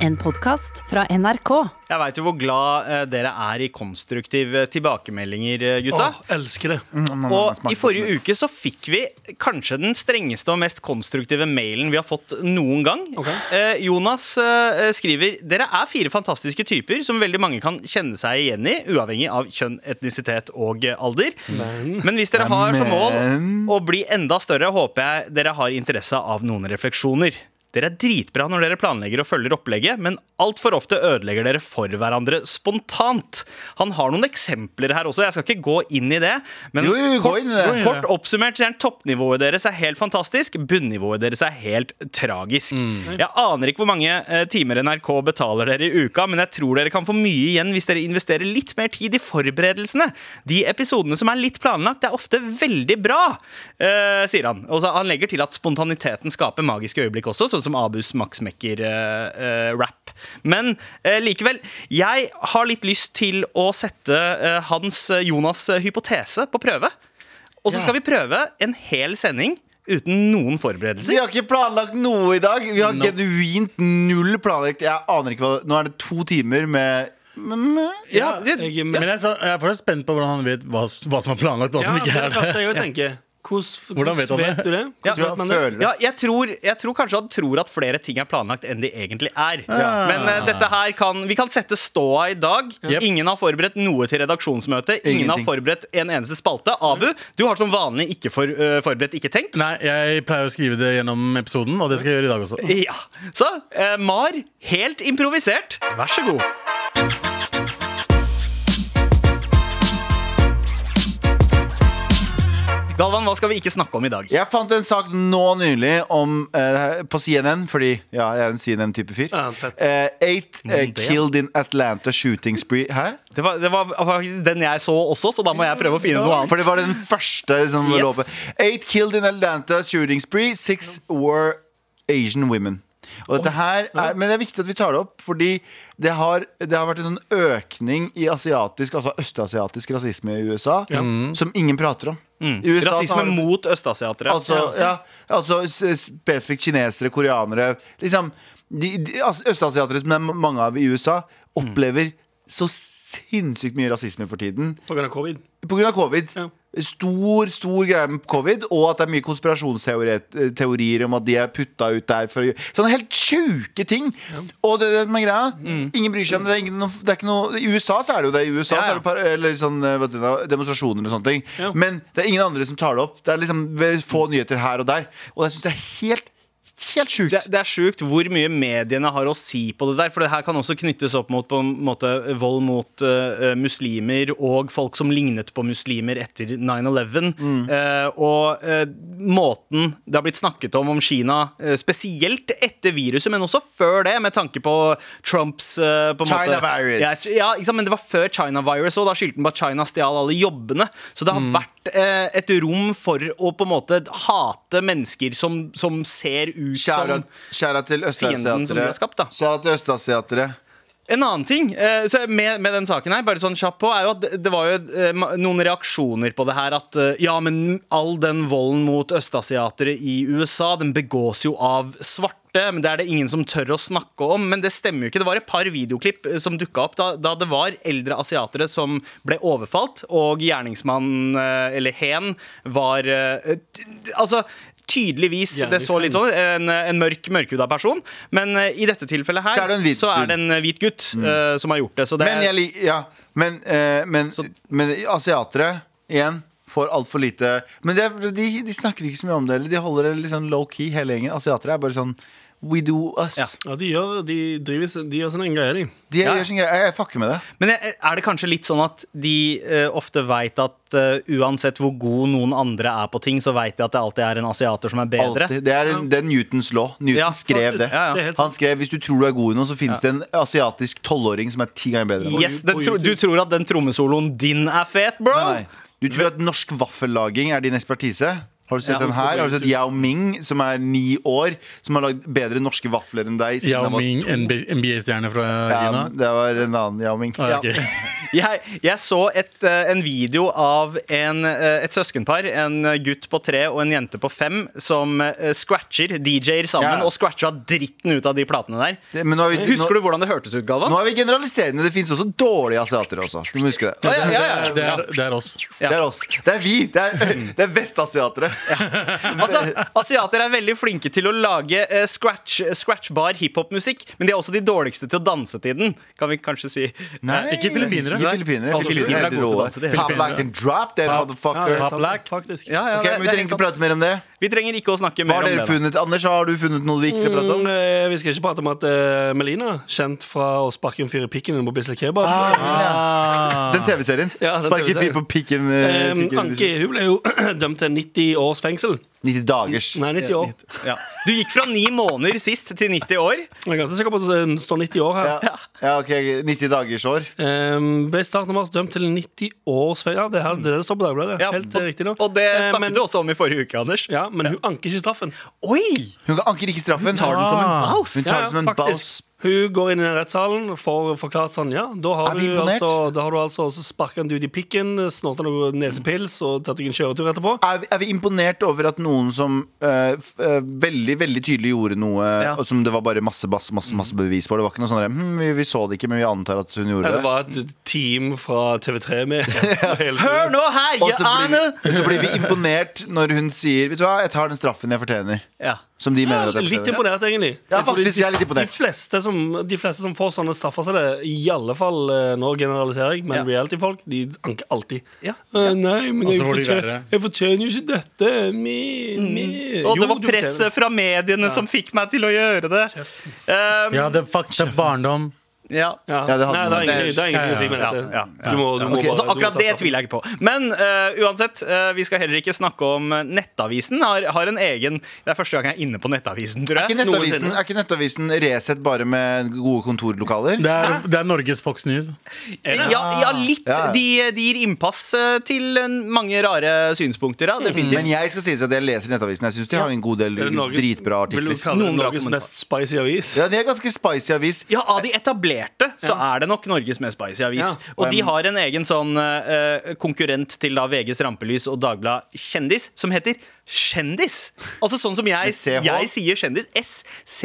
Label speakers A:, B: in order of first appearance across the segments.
A: En podkast fra NRK.
B: Jeg veit jo hvor glad eh, dere er i konstruktive tilbakemeldinger, eh, gutta.
C: Åh, elsker det.
B: og i forrige uke så fikk vi kanskje den strengeste og mest konstruktive mailen vi har fått noen gang.
C: Ok.
B: Eh, Jonas eh, skriver Dere er fire fantastiske typer som veldig mange kan kjenne seg igjen i, uavhengig av kjønn, etnisitet og eh, alder. Men, hvis dere har som
D: Men-
B: mål å bli enda større, håper jeg dere har interesse av noen refleksjoner. Dere er dritbra når dere planlegger og følger opplegget, men altfor ofte ødelegger dere for hverandre spontant. Han har noen eksempler her også, jeg skal ikke gå inn i det. Men
D: Jo, jo, gå
B: kort,
D: inn i det.
B: Gå inn i kort oppsummert så er toppnivået deres er helt fantastisk, bunnivået deres er helt tragisk. Jeg aner ikke hvor mange eh, timer NRK betaler dere i uka, men jeg tror dere kan få mye igjen hvis dere investerer litt mer tid i forberedelsene. De episodene som er litt planlagt, er ofte veldig bra, eh, sier han. Og så han legger til at spontaniteten skaper magiske øyeblikk også, sånn som Abus Max Mekker-rap. Men eh, likevel, jeg har litt lyst til å sette eh, hans eh, Jonas' eh, hypotese på prøve. Og så skal vi prøve en hel sending uten noen
D: Vi
B: forberedelser.
D: har ikke planlagt noe i dag. Vi har genuint null planlagt. Jeg aner ikke hva Nå er det to timer med med-
B: Ja, det,
C: Jeg,
E: Men jeg, er så, jeg er fortsatt spent på hvordan han vet hva, hva som er planlagt, og
C: ja,
E: hva som
C: det
E: ikke
C: er det
E: er
C: første
E: det.
C: jeg tenker. Hvordan,
E: Hvordan vet
C: vet,
E: han det?
C: du det?
B: Ja,
C: Hvordan vet man det?
D: føler det.
B: ja, jeg, tror, jeg tror kanskje han tror at flere ting er planlagt enn de egentlig er. Men eh, dette her kan, vi kan sette ståa i dag.
E: Jep.
B: Ingen har forberedt noe til redaksjonsmøtet. Ingen har
D: Ingenting.
B: forberedt en eneste spalte. Abu, du har som vanlig ikke for, eh, forberedt, ikke tenkt.
E: Nei, jeg pleier å skrive det gjennom episoden, og det skal jeg gjøre i dag også.
B: Ja. Så eh, Mar, helt improvisert. Vær så god. Galvan, hva skal vi ikke snakke om i dag?
D: Jeg fant en sak nå nylig om, eh, på CNN, fordi ja, jeg er en CNN-type fyr.
C: Ja, fett.
D: Eh, eight eh,
B: Men det-
D: killed in Atlanta shooting spree. Hæ?
B: Det var, det var faktisk den jeg så også, så da må jeg prøve å finne noe annet.
D: For det var den første som
B: Yes.
D: lå på. Eight killed in Atlanta shooting spree. Six were Asian women. Og dette her er, men det er viktig at vi tar det opp, fordi det har, det har vært en sånn økning i asiatisk, altså østasiatisk rasisme i USA som ingen prater om. I USA så
B: Mm. Rasisme
D: har det-
B: mot østasiatere.
D: Altså, ja, altså s- spesifikt kinesere, koreanere liksom, de, de, altså, Østasiatere, som det er ma- mange av i USA, opplever så sinnssykt mye rasisme for tiden.
C: På grunn av covid.
D: På grunn av covid.
C: Ja.
D: Stor stor greie med covid, og at det er mye konspirasjonsteorier om at de er putta ut der for å gjøre Sånne helt sjuke ting! Og det, det som er greia. Ingen bryr seg om det. Det er, ingen, det er ikke noe, I USA så er det jo det. I USA
B: Mm. Ja, ja.
D: så er det par, eller sånn, eh, vet du, noe, demonstrasjoner og sånne ting.
C: Ja.
D: Men det er ingen andre som tar det opp. Det er liksom ve- få nyheter her og der. Og jeg syns det er helt, helt sjukt.
B: det, det er sjukt hvor mye mediene har å si på det der. For det her kan også knyttes opp mot på en måte, vold mot eh, muslimer og folk som lignet på muslimer etter 9-11.
D: Mm.
B: Eh, og eh, måten det har blitt snakket om om Kina, eh, spesielt etter viruset, men også før det, med tanke på Trumps eh, på en
D: China
B: måte,
D: virus.
B: Ja, ja, ikke sant, men det var før China virus, og da skyldte den på at China stjal alle jobbene. Så det har vært eh, et rom for å på en måte hate mennesker som, som ser ut
D: Kjære,
B: som
D: kjære til
B: sånn fienden som de har
D: østasiatere.
B: skapt, da.
D: Kjære til østasiatere.
B: En annen ting eh, så med, med den saken her, bare sånn kjapt på, er jo at det, det var jo eh, ma- noen reaksjoner på det her. At eh, ja, men all den volden mot østasiatere i USA, den begås jo av svarte. Men det er det ingen som tør å snakke om. Men det stemmer jo ikke. Det var et par videoklipp eh, som dukka opp da, da det var eldre asiatere som ble overfalt, og gjerningsmannen, eh, eller hen, var eh, t- Altså tydeligvis, det så litt sånn, en, en mørk, mørkhuda person. Men eh, i dette tilfellet her,
D: Så er det en hvit
B: så er
D: dude.
B: det en en hvit gutt eh, som har gjort det. Så det
D: Mm. Men, jeg, lik- ja, men, eh, men, men asiatere, igjen, får altfor lite Men det, er- de, de snakker ikke så mye om det. Eller de holder det litt sånn low-key, hele gjengen. Asiatere er bare sånn We do us.
B: Ja.
C: Ja, de gjør, de driver, sin- de gjør sin egen greie, de.
D: De
B: Ja.
D: gjør sin greie. Jeg, jeg fucker med det.
B: Men er er det kanskje litt sånn at de eh, ofte veit at eh, uansett hvor god noen andre er på ting, så veit de at det alltid er en asiater som er bedre?
D: Alltid. Det, er en, det er Newtons law. Newton
B: Ja,
D: skrev det.
B: Ja, ja.
C: Det er helt sant.
D: Han skrev hvis du tror du er god i noe, så finnes det en asiatisk tolvåring som er ti ganger bedre. enn deg.
B: Yes, den, tro, du tror at den trommesoloen din er fet, bro?
D: Nei, nei. Du tror at norsk vaffellaging er din ekspertise? Har du sett
E: Ja.
D: den her? Har du sett Yao Ming, som er ni år, som har lagd bedre norske vafler enn deg? siden
E: Yao
D: han var
E: Ming,
D: to?
E: NBA-stjerne fra
D: Ja,
E: Kina.
D: men det var en annen Yao Ming.
E: Ah, ja, ok.
B: Jeg, jeg så et, eh, en video av en, eh, et søskenpar, en gutt på tre og en jente på fem, som eh, scratcher, DJ-er sammen,
D: Ja.
B: og scratcha dritten ut av de platene der.
D: Det- Men nå er vi,
B: Husker
D: nå,
B: du hvordan det hørtes ut, Galvan?
D: nå er vi generaliserende. Det fins også dårlige asiater også. Du må huske det.
B: Ja, ja, ja, ja.
E: Det, er, det er oss.
B: Ja.
D: Det er oss. Det er vi. Det er, det er vestasiatere.
B: Altså, asiater er veldig flinke til å lage eh, scratch, scratchbar hiphop-musikk, men de er også de dårligste til å danse til den, kan vi kanskje si.
D: Nei,
E: ikke filippinere.
D: Ikke filippinere.
B: Alle filippinere er
D: Helt
B: gode til å
D: rå.
B: danse, det er
D: Pop
E: helt
D: like and drop that motherfucker.
C: Ja,
E: Pop
C: sant,
E: Black.
C: Faktisk.
B: Ja, ja,
D: Ok,
B: det-
D: men
B: det
D: Vi
B: er
D: trenger
B: sant.
D: ikke prate mer om det.
B: vi trenger ikke å snakke
D: Hva
B: mer
D: har
B: om det.
D: dere
B: da.
D: funnet? Anders, har du funnet noe vi ikke skal prate
C: Mm,
D: om?
C: eh, vi skal ikke prate om at eh, Melina, kjent fra å sparke en fyr i pikken inne på Bislett Kebab
D: Ah, ja. Ah. Den TV-serien.
C: Ja, den
D: Sparket
C: TV-serien.
D: fyr på pikken. eh,
C: Eh,
D: pikken-
C: Anki hun ble jo dømt til 90 års fengsel.
D: 90 dagers.
C: Nei, 90 år.
B: Ja. Du gikk fra ni måneder sist til 90 år.
C: Jeg er ganske sikker på at det står 90 år her.
D: Ja, ja, ok, 90 dagers år.
C: Ehm, ble i starten av mars dømt til 90 års fengsel. Ja, det, her, det er det det står på Dagbladet.
B: Ja,
C: Helt eh, riktig nå.
B: Og det
C: Eh,
B: snakket
C: men,
B: du også om i forrige uke, Anders.
C: Ja, men hun anker ikke straffen.
B: Oi!
D: Hun kan- anker ikke straffen.
B: Tar den som en
E: Ah.
B: baus.
D: Hun tar det som en
C: faktisk.
D: baus.
C: Hun går inn i den rettssalen og får forklart sånn Ja, da
D: Er
C: har,
D: vi
C: du
D: imponert?
C: altså, da har du altså sparka en dude i pikken, snorta noe nesepils og tatt deg en kjøretur etterpå.
D: Er vi, er vi imponert over at noen som eh, f- eh, veldig veldig tydelig gjorde noe
B: Ja.
D: og som det var bare masse, masse, masse, masse bevis på? Det var ikke noe sånn der, hm, vi, vi så det ikke, men vi antar at hun gjorde
C: Ja,
D: det.
C: det var et team fra TV3 med.
B: Hør nå her,
D: Og så
B: ja, Ane!
D: blir, vi- så blir vi imponert når hun sier Vet du hva, jeg tar den straffen jeg fortjener.
B: Ja.
D: Som de mener at jeg
C: Litt
D: fortjener.
C: imponert, egentlig.
D: Ja,
C: Jeg tror de-
D: faktisk, jeg er litt
C: De
D: imponert.
C: fleste, som, de fleste som får sånne straffer som det, i alle fall eh, Nå generaliserer jeg, men
B: Ja.
C: reality-folk de anker alltid.
B: Ja.
C: Eh, nei, men
E: Og så
C: jeg
E: får de
C: fortjener,
E: verre.
C: jeg fortjener jo ikke dette. Mi, mi.
D: Mm.
B: Og
C: Jo,
B: det var
C: du fortjener
B: presset fra mediene som fikk meg til å gjøre det. Um,
E: Ja, det er fuck, det er barndom.
B: ja.
C: Ja.
D: Ja, det
C: det,
D: hadde
C: Nei, det er
D: man.
C: ingenting, det er ingenting å si med
B: Ja,
C: dette.
B: ja, ja.
C: Du må, du må
D: Ok,
C: bare,
B: Så
C: du må
B: akkurat
C: ta
B: det
C: straffen.
B: tviler jeg ikke på. Men eh, uansett, eh, vi skal heller ikke snakke om eh, Nettavisen. Har, har en egen Det er første gang jeg er inne på Nettavisen, tror
D: Er
B: jeg.
D: ikke nettavisen, er ikke nettavisen Resett bare med gode kontorlokaler?
E: Det er, det er Norges Fox News.
B: Ja, ja litt.
D: Ja, ja.
B: De, de gir innpass eh, til eh, mange rare synspunkter, ja. Definitivt.
D: Men jeg skal sies at jeg leser Nettavisen. Jeg syns de har en god del
C: Er det Norges-
D: dritbra
C: Vil du
D: artikler.
C: kalle det
B: Noen bra
C: Norges
B: kommentarer.
C: mest spicy avis?
D: Ja, De er ganske spicy avis.
B: Ja, av de etablerte så er det nok Norges mest spicy avis.
C: Ja.
B: Og de har en egen sånn eh, konkurrent til da VGs Rampelys og Dagbladet Kjendis, som heter Kjendis. Altså sånn som jeg,
D: CH?
B: jeg sier kjendis.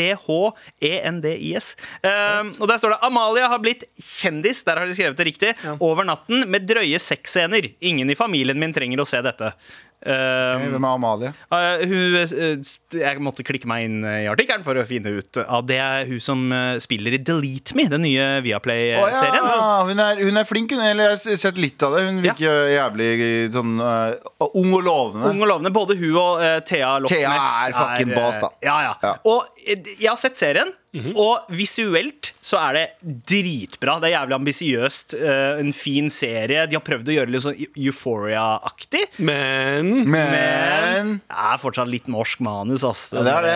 B: E S-C-H-E-N-D-I-S. Um, og der står det Amalia har blitt kjendis, der har de skrevet det riktig, over natten med drøye sexscener. Ingen i familien min trenger å se dette.
C: Mm.
B: Um,
D: Hvem er Amalie?
B: Eh, hun, eh, st- jeg måtte klikke meg inn eh, i artikkelen for å finne ut av det er hun som eh, spiller i Delete Me, den nye eh,
D: Å ja,
B: Viaplay-serien.
D: hun, er, hun er flink, hun. Eller jeg har sett litt av det. Hun virker jævlig sånn eh, ung og lovende.
B: Ung og lovende. Både hun og eh, Thea Loch
D: Thea
B: Ness
D: er fucking
B: eh,
D: boss, da.
B: Ja, ja.
D: Ja.
B: Og eh, d- jeg har sett serien, og visuelt så er det dritbra. Det er jævlig ambisiøst. eh, en fin serie. De har prøvd å gjøre det litt sånn Eu- Euphoria-aktig.
C: Men
D: Men
B: Det er fortsatt litt norsk manus, ass.
D: Ja, det er det.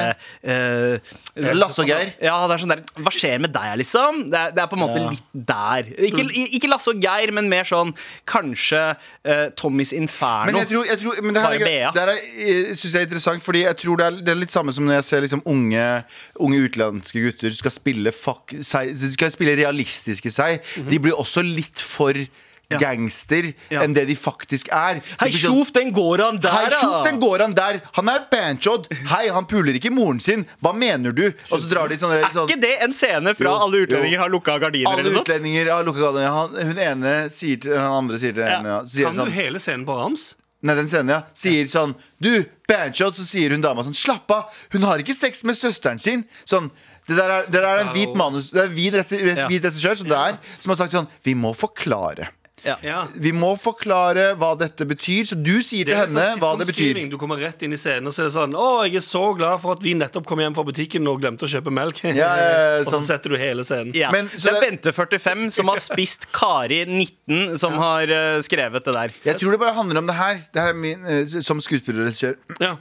B: det.
D: Eh, Lasse og Geir.
B: Ja, det er sånn der Hva skjer med deg, liksom? Det er, det er på en måte
D: Ja. Mm.
B: litt der. Ikke, i- ikke Lasse og Geir, men mer sånn kanskje eh, Tommys Inferno.
D: Men jeg tror, jeg tror men det
B: Bare
D: her, er greit.
B: Bea.
D: det her er, eh, synes jeg er interessant, Fordi jeg tror det er, det er litt samme som når jeg ser liksom unge, unge utenlandske gutter skal spille, fuck, seg, de skal spille realistiske seg. De blir også litt for gangster
B: Mhm. Ja.
D: enn det de faktisk er. Det
B: Hei,
D: blir sånn,
B: tjoff, den går han der,
D: Hei, tjoff, den går han der! Han er banchod! Hei, han puler ikke moren sin! Hva mener du? Og så drar de sånne,
B: Er
D: sånn
B: ikke det en scene fra
D: Jo,
B: Alle utlendinger
D: jo.
B: har lukka gardiner?
D: Alle
B: eller noe sånt?
D: utlendinger har lukka gata. Han, hun ene sier til den andre sier til henne ja. så sier
C: kan
D: sånn,
C: du hele scenen på rams?
D: Nei, den scenen, ja. Sier sånn Du, Banshot, så sier hun dama sånn Slapp av, hun har ikke sex med søsteren sin. Sånn det der, er, det der er en hvit manus Det er en hvit rett- rett-
B: Ja.
D: hvit regissør som det er, som har sagt sånn Vi må forklare.
C: Ja.
D: Vi må forklare hva dette betyr. Så du sier
C: litt
D: til henne
C: sånn
D: hva det betyr.
C: sitcom-skriving. Du kommer rett inn i scenen, og så er det sånn Å, jeg er så glad for at vi nettopp kom hjem fra butikken og glemte å kjøpe melk.
D: Ja, ja, ja,
C: og så
D: sånn.
C: setter du hele scenen.
B: Ja.
D: Men,
B: det
D: så
B: er
D: det-
B: Bente 45 som har spist Kari 19, som har eh, skrevet det der.
D: Jeg tror det bare handler om det her. Det her er min, eh, som skuespiller og regissør.
C: Ja.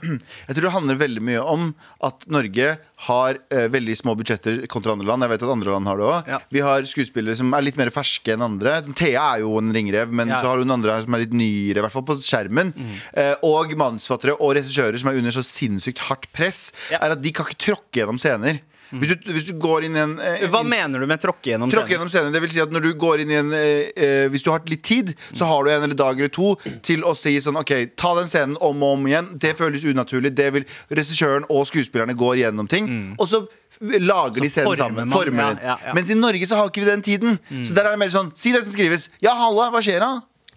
D: Jeg tror det handler veldig mye om at Norge har eh, veldig små budsjetter kontra andre land. Jeg vet at andre land har det også.
E: Ja.
D: Vi har skuespillere som er litt mer ferske enn andre. Thea er jo en ringrev, men
E: Ja. Mhm.
D: så har hun andre her som er litt nyere, i hvert fall på skjermen. Eh, og manusforfattere og regissører som er under så sinnssykt hardt press, er at de kan ikke tråkke gjennom scener.
E: Mhm.
D: Hvis, du, hvis du går inn i en eh,
B: Hva
D: en-
B: mener du med tråkke gjennom
D: Tråkke
B: scenen?
D: gjennom scenen. Det vil si at når du går inn i en eh, eh, Hvis du har litt tid, så har du en eller dag eller to til å si sånn OK, ta den scenen om og om igjen. Det føles unaturlig. Det vil Regissøren og skuespillerne går gjennom ting. Og så f- lager de
B: Mm.
D: scenen
B: former
D: sammen.
B: man,
D: Former
B: ja,
D: den.
B: ja, Mm. ja.
D: Mens i Norge så har ikke vi den tiden. Så der er det mer sånn Si det som skrives. Ja, halla, hva skjer da?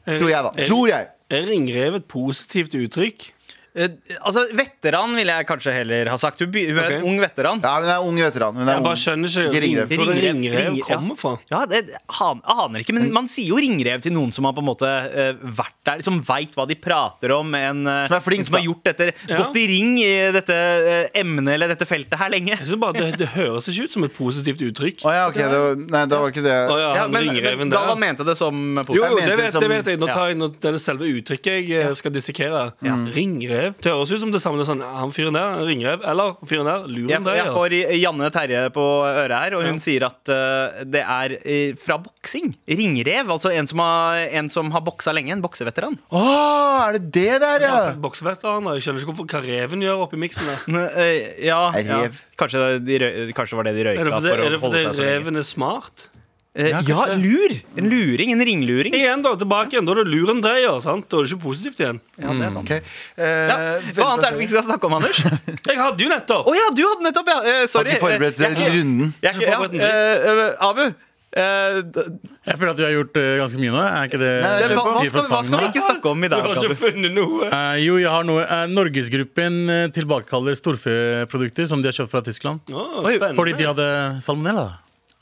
D: Tror jeg, da.
C: Eh,
D: Tror jeg.
C: Er ringrev et positivt uttrykk?
B: Eh, altså, veteran ville jeg kanskje heller ha sagt. Hun, by, hun er
C: Ok.
B: en ung veteran.
D: Ja, hun er ung veteran. Hun er
C: Jeg
D: ung.
C: bare skjønner ikke
D: Ikke ringrev.
C: hvor det
B: Ringrev,
C: ringrev
B: ringrev, ja.
C: kommer fra.
B: Ja, det han, aner ikke, men man sier jo ringrev til noen som har på en måte eh, vært der, som veit hva de prater om. En, eh,
D: Som er flink,
B: en som har
D: da.
B: gjort dette,
C: Ja.
B: gått i ring i dette eh, emnet eller dette feltet her lenge.
C: Jeg synes bare det, det høres ikke ut som et positivt uttrykk.
D: Å ja, OK. Det var, nei, da var det ikke det.
C: Å ja,
B: Ja,
C: han
B: men,
C: ringreven
B: men
C: der.
B: Galvan mente det som eh,
C: Jo,
B: positivt.
C: jo,
D: Jeg
C: det
D: mente
C: vet,
D: det som-
C: det vet jeg. Nå tar jeg nå, det er det selve uttrykket jeg eh, skal dissekere. Ringrev. Det høres ut som det samme. det er Sånn, han fyren der, en ringrev. Eller han fyren der,
B: Jeg,
C: luren der.
B: jeg
C: ja.
B: får Janne Terje på øret her, og hun sier at eh, det er eh, fra boksing. Ringrev. Altså en som har, en som har boksa lenge. En bokseveteran.
D: Å, er det det der, ja?
C: Altså, Bokseveteraner. Jeg skjønner ikke hvorfor, hva reven gjør oppi miksen der.
B: N- eh, Ja,
D: Er
B: ja.
D: rev.
B: Kanskje, de røy, kanskje det var det de
C: Er det
B: røyka
C: fordi,
B: for
C: er
B: å holde
C: det fordi
B: seg så lenge.
C: reven er smart?
B: Eh,
D: Ja,
B: ja,
D: kanskje det.
B: lur! En luring. En ringluring.
C: Igjen, da. Tilbake igjen. Da er det luren dreier. sant? Da er det ikke positivt igjen.
B: Ja, det er sant.
D: Ok. Eh,
B: Ja.
D: veldig
B: Hva annet
D: bra
B: er det vi ikke skal snakke om, Anders? Å
C: Jeg hadde jo nettopp!
B: ja, du hadde nettopp ja. Eh,
D: Har
B: Sorry.
D: ikke forberedt
B: Eh, jeg-
D: deg til runden.
B: jeg-
C: Du forberedt en
B: ja, eh, eh, Abu. eh, d-
E: Jeg føler at vi har gjort eh, ganske mye nå. Er ikke det
B: hva,
D: Nei, kjør på.
B: hva, skal, hva skal vi ikke snakke om i
C: Du
B: dag,
C: har
B: Abu?
C: ikke funnet noe.
E: Eh, jo, jeg har noe. Eh, Norgesgruppen eh, tilbakekaller storfeprodukter som de har kjøpt fra Tyskland.
C: Å,
E: Oi,
C: spennende.
E: fordi de hadde salmonella.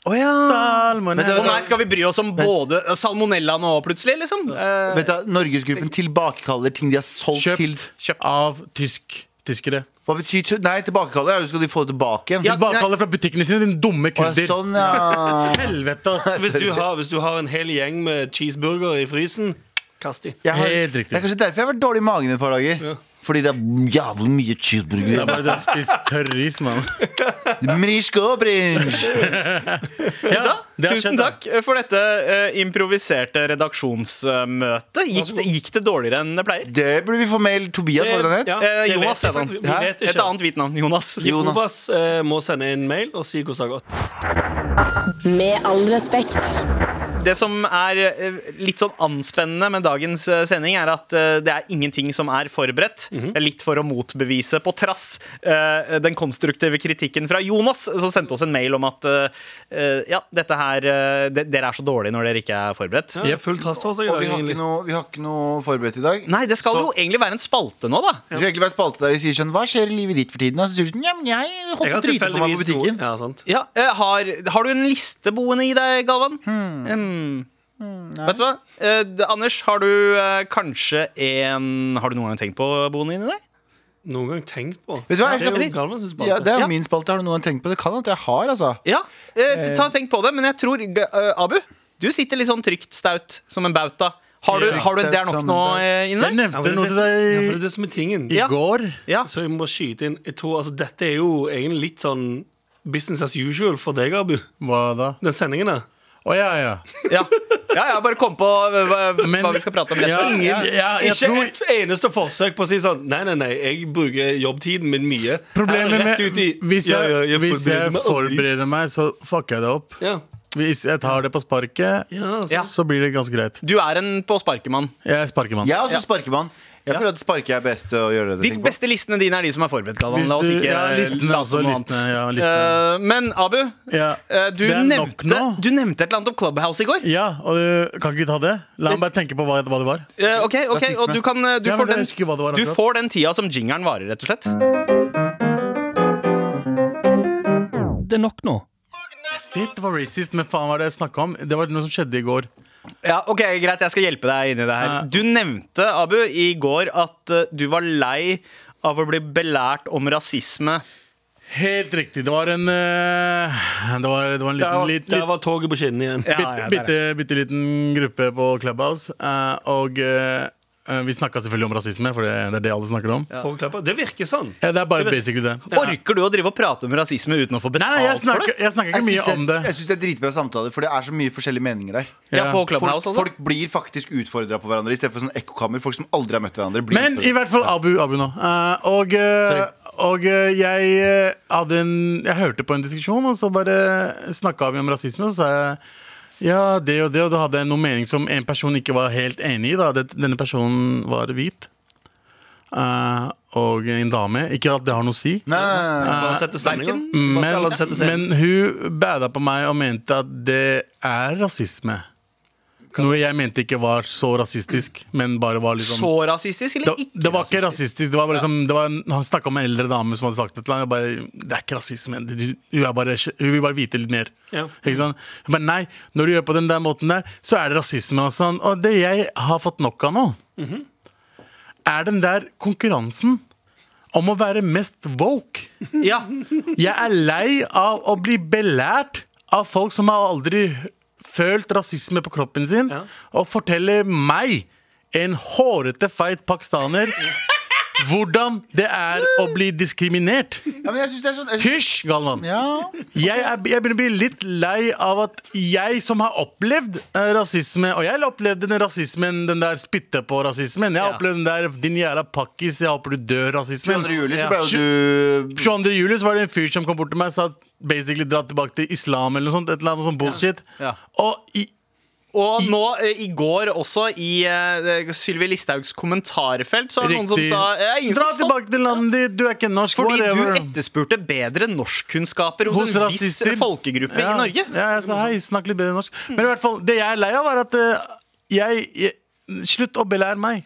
B: Å ja.
E: Salmonella.
B: Å nei, skal vi bry oss om både salmonella nå plutselig, liksom? Eh,
D: Vet du, Norgesgruppen tilbakekaller ting de har solgt til
E: Kjøpt, av tysk, tyskere.
D: Hva betyr til- Nei, tilbakekaller er jo skal de få det tilbake igjen.
B: Ja,
E: Tilbakekaller fra butikkene sine, din dumme
D: Å, ja,
E: kudder.
D: sånn, ja.
E: Helvete, ass.
C: Hvis du, har, hvis du har en hel gjeng med cheeseburger i frysen, kast de.
D: Jeg har,
E: Helt riktig.
D: Det er kanskje derfor jeg har vært dårlig i magen i et par dager. Fordi det er jævlig mye
E: Det er
D: cheeseburger.
E: bare du har spist tørris, mann.
D: Mrishko, brinj.
E: Ja, det har
B: Tusen
E: skjedd, da.
B: takk for dette eh, improviserte redaksjonsmøtet. Gikk, det- gikk det dårligere enn det pleier?
D: Det burde vi få mail. Tobias, var det den het?
C: Ja,
B: Eh,
C: det
B: Jonas het
C: vet jeg
B: han.
C: faktisk-
D: Hæ?
C: Vi vet
B: Et
C: ikke.
B: annet hvitt navn. Jonas.
D: Jonas.
C: Jonas eh, må sende en mail og si hvordan det har gått.
A: Med all respekt.
B: Det som er eh, litt sånn anspennende med dagens eh, sending, er at eh, det er ingenting som er forberedt. Det er litt for å motbevise, på trass eh, den konstruktive kritikken fra Jonas, som sendte oss en mail om at eh, eh, ja, dette her eh, de, Dere er så dårlige når dere ikke er forberedt.
C: Ja, full trass til oss i
D: Og
C: dag,
D: vi har, ikke
C: egentlig.
D: noe, vi har ikke noe forberedt i dag.
B: Nei, det skal
D: Så-
B: jo egentlig være en spalte nå, da.
D: Det skal egentlig være spalte der vi sier sånn Hva skjer i livet ditt for tiden? Og så sier du sånn Ja, men jeg
C: Jeg
D: holdt på å
C: har
D: drite på meg på
C: tilfeldigvis to.
D: butikken.
C: Ja, sant.
B: Ja, eh, har, har du en liste boende i deg, Galvan? Hmm. Vet du hva? Eh, d- Anders, har du eh, kanskje en Har du noen gang tenkt på boende inni deg?
C: Noen gang tenkt på.
D: Vet du hva, jeg
C: Det er
D: skal-
C: jo Galvan sin
D: Ja, det
C: spalte.
D: er
B: Ja.
D: jo min spalte. Har du noen gang tenkt på det? Kan at jeg har, altså.
B: Ja, eh, ta og tenk på det, men jeg tror g- eh, Abu, du sitter litt sånn trygt staut som en bauta. Har du, har du en der nok nå eh,
E: Jeg
B: inne?
C: Ja,
E: nevnte
C: men
E: noe
C: det,
E: til
C: er det- ja, men det er
E: deg
C: det som er tingen.
E: i
B: Ja.
E: går.
B: Ja.
C: Så jeg må skyte inn. Jeg tror, altså, Dette er jo egentlig litt sånn business as usual for deg, Abu.
E: Hva da?
C: Den sendingen der.
E: Å ja, ja.
B: Ja. ja, ja, bare kom på eh, hva,
E: Men-
B: hva vi skal prate om.
E: Ja,
B: etterpå.
E: ja, jeg
C: ikke
E: tror-
C: et eneste forsøk på å si sånn Nei, nei, nei, jeg bruker jobbtiden min mye.
E: Problemet
C: Jeg er
E: med
C: rett ut i,
E: Hvis
C: Ja,
E: jeg,
C: ja,
E: hvis jeg
C: meg aldri.
E: forbereder meg, så fucker jeg det opp.
C: ja.
E: Hvis jeg tar det på sparket,
C: Ja, altså.
B: Ja.
E: så blir det ganske greit.
B: Du er en på sparkemann.
E: Jeg er sparkemann.
D: Jeg er også sparkemann. Jeg føler at sparke er best å gjøre det.
B: De
D: tenk på.
B: beste listene dine er de som er forberedt, Galvan.
E: Hvis
B: La oss
E: du-
B: ikke
E: ja, listene,
B: late som
E: altså,
B: noe annet.
E: listene, ja, listene.
B: Eh, Men Abu,
E: Ja.
B: eh, du,
E: Det er nok
B: nevnte,
E: nå.
B: du nevnte et eller annet om Clubhouse i går. Eh,
E: Ja, og du kan ikke ta det? La meg bare tenke på hva, hva det var.
B: Eh, ok, ok,
D: Rasisme.
B: Og du, kan, eh, du,
E: Ja, men
B: får
E: jeg
B: den,
E: husker ikke hva det var
B: du
E: akkurat.
B: får den tida som jingeren varer, rett og slett.
C: Det er nok nå.
E: Shit, det var racist, men faen hva er det jeg snakka om? Det var noe som skjedde i går.
B: Ja, ok, Greit, jeg skal hjelpe deg inn i det her.
E: Ja.
B: Du nevnte, Abu, i går at eh, du var lei av å bli belært om rasisme.
E: Helt riktig. Det var en eh, Det var, det var
C: Der,
E: en liten,
C: var-
E: lit-
C: der var toget på skinnene igjen.
B: Ja, ja,
E: bitte,
B: der er
E: bitte, bitte liten gruppe på Clubhouse, eh, og eh, Eh, Vi snakka selvfølgelig om rasisme, for det det er det alle snakker om.
C: Håvard Kleppa. Det virker sånn.
E: Ja, det er bare basically det.
B: Orker du å drive og prate om rasisme uten å få betalt
E: Nei,
B: for
E: jeg
B: det?
E: snakker, jeg snakker
D: Jeg
E: ikke
D: syns
E: mye om det.
D: det, jeg syns det er dritbra samtaler, for det er så mye forskjellige meninger der.
B: Ja,
E: Ja.
B: på
D: Folk,
B: Clubhouse, altså?
D: folk blir faktisk utfordra på hverandre istedenfor sånn ekkokammer. Folk som aldri har møtt hverandre. Blir
E: Men i
D: utfordret.
E: hvert fall Abu, Abu nå. Eh, og eh, og eh, jeg eh, hadde en Jeg hørte på en diskusjon, og så bare snakka vi om rasisme. Og så sa jeg ja, det og det, og da hadde jeg noen mening som en person ikke var helt enig i. da Det- Denne personen var hvit. Eh, og en dame. Ikke at det har noe å si.
D: Nei, nei, nei.
C: Bare sette stemninga.
B: Mm.
E: Men, men hun bada på meg og mente at det er rasisme. Noe jeg mente ikke var så rasistisk, men bare var liksom
B: Så rasistisk, eller
E: det,
B: ikke?
E: det var ikke rasistisk. Det var bare liksom, det var, en- han snakka om en eldre dame som hadde sagt et eller annet. Jeg bare, det er ikke rasisme. Du- Hun, er bare, hun vil bare vite litt mer.
C: Ja.
E: Ikke sant? Hun bare nei, når du gjør på den der måten der, så er det rasisme. Og, sånn. og det jeg har fått nok av nå, er den der konkurransen om å være mest woke.
B: Ja.
E: Jeg er lei av å bli belært av folk som har aldri følt rasisme på kroppen sin,
C: Ja.
E: og forteller meg, en hårete, feit pakistaner, hvordan det er å bli diskriminert.
D: Ja, men jeg syns det er sånn jeg synes,
E: Hysj, Galvan!
D: ja.
E: Jeg, er, jeg begynner å bli litt lei av at jeg som har opplevd eh, rasisme Og jeg opplevde den rasismen, den der spytte på rasismen. Jeg har
B: Ja.
E: opplevd den der 'din jævla pakkis, jeg håper du dør' rasismen.
D: 22. juli så
E: Ja.
D: ble jo du
E: 22. juli så var det en fyr som kom bort til meg og sa at basically dra tilbake til islam eller noe sånt. Et eller annet sånt bullshit.
B: Ja.
E: Og i,
B: Og nå eh, i går også, i uh, Sylvi Listhaugs kommentarfelt, så var det noen som
E: riktig
B: sa eh, ingen
E: Dra
B: som stopp-
E: tilbake til landet ditt, du er ikke norsk.
B: Fordi
E: whatever.
B: du etterspurte bedre norskkunnskaper hos,
E: Hos
B: en
E: rasister.
B: viss folkegruppe
E: ja.
B: i Norge. Hmm.
E: Ja, jeg sa hei, snakk litt bedre norsk. Men i hvert fall, det jeg er lei av, er at eh, jeg, jeg Slutt å belære meg.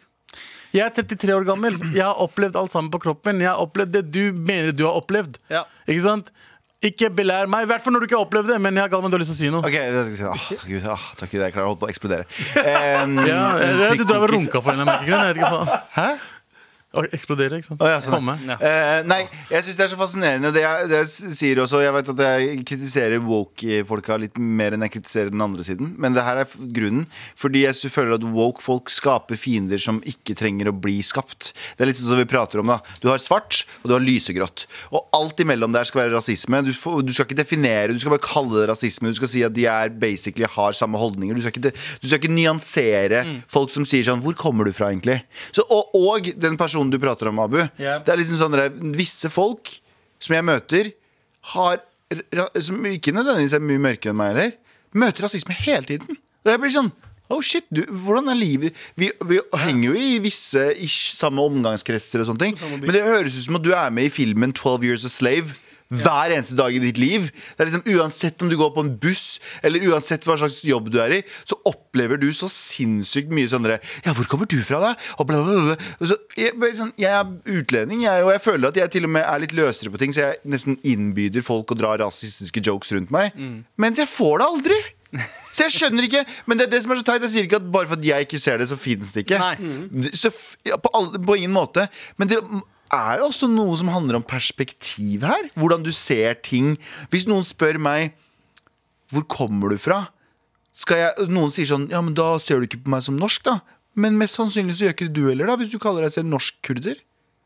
E: Jeg er 33 år gammel. Jeg har opplevd alt sammen på kroppen. Jeg har opplevd det du mener du har opplevd.
B: Ja.
E: Ikke sant? Ikke belær meg. I hvert fall når du ikke har opplevd det. Men jeg har Galvan, du har lyst til å si noe.
D: Ok, det skal jeg si. Åh, Gud, åh, takk Gud, jeg klarer å holde på å eksplodere. Um,
E: Ja, jeg vet, du drev og runka for en av merkegrunn. Jeg vet ikke faen.
D: Hæ?
E: Og eksplodere, ikke sant?
D: Å, ja, sånn, ja.
E: Komme.
D: Eh, nei, jeg syns det er så fascinerende. Det jeg, det jeg s- sier også Jeg vet at jeg kritiserer woke-folka litt mer enn jeg kritiserer den andre siden. Men det her er f- grunnen. Fordi jeg s- føler at woke-folk skaper fiender som ikke trenger å bli skapt. Det er litt sånn som vi prater om da Du har svart, og du har lysegrått. Og alt imellom der skal være rasisme. Du, får, du skal ikke definere, du skal bare kalle det rasisme. Du skal si at de er basically har samme holdninger. Du skal ikke, de- du skal ikke nyansere folk som sier sånn Hvor kommer du fra, egentlig? Så, og, og den personen du prater om, Abu.
E: Ja.
D: Det er liksom sånn der, Visse folk som jeg møter, har ra- Som ikke nødvendigvis er mye mørkere enn meg heller, møter rasisme hele tiden. Og jeg blir sånn Oh shit, du, hvordan er livet Vi, vi henger jo i visse ish samme omgangskretser og sånne ting. Men det høres ut som at du er med i filmen 12 Years a Slave. Hver eneste dag i ditt liv. Det er liksom Uansett om du går på en buss, eller uansett hva slags jobb du er i, så opplever du så sinnssykt mye sånn derre Ja, hvor kommer du fra, da? Og bla, bla, bla. Og så, jeg, bare sånn, jeg er utlending, jeg, og jeg føler at jeg til og med er litt løsere på ting, så jeg nesten innbyder folk å dra rasistiske jokes rundt meg. Mens jeg får det aldri! Så jeg skjønner ikke Men det er det som er så teit. Jeg sier ikke at bare for at jeg ikke ser det, så finnes det ikke.
B: Nei.
D: Mm. Så, f- ja, på, alle, på ingen måte. Men det er jo også noe som handler om perspektiv her. Hvordan du ser ting. Hvis noen spør meg Hvor kommer du fra? Skal jeg, noen sier sånn Ja, men da ser du ikke på meg som norsk, da. Men mest sannsynlig så gjør ikke du heller, da. Hvis du kaller deg selv norsk kurder.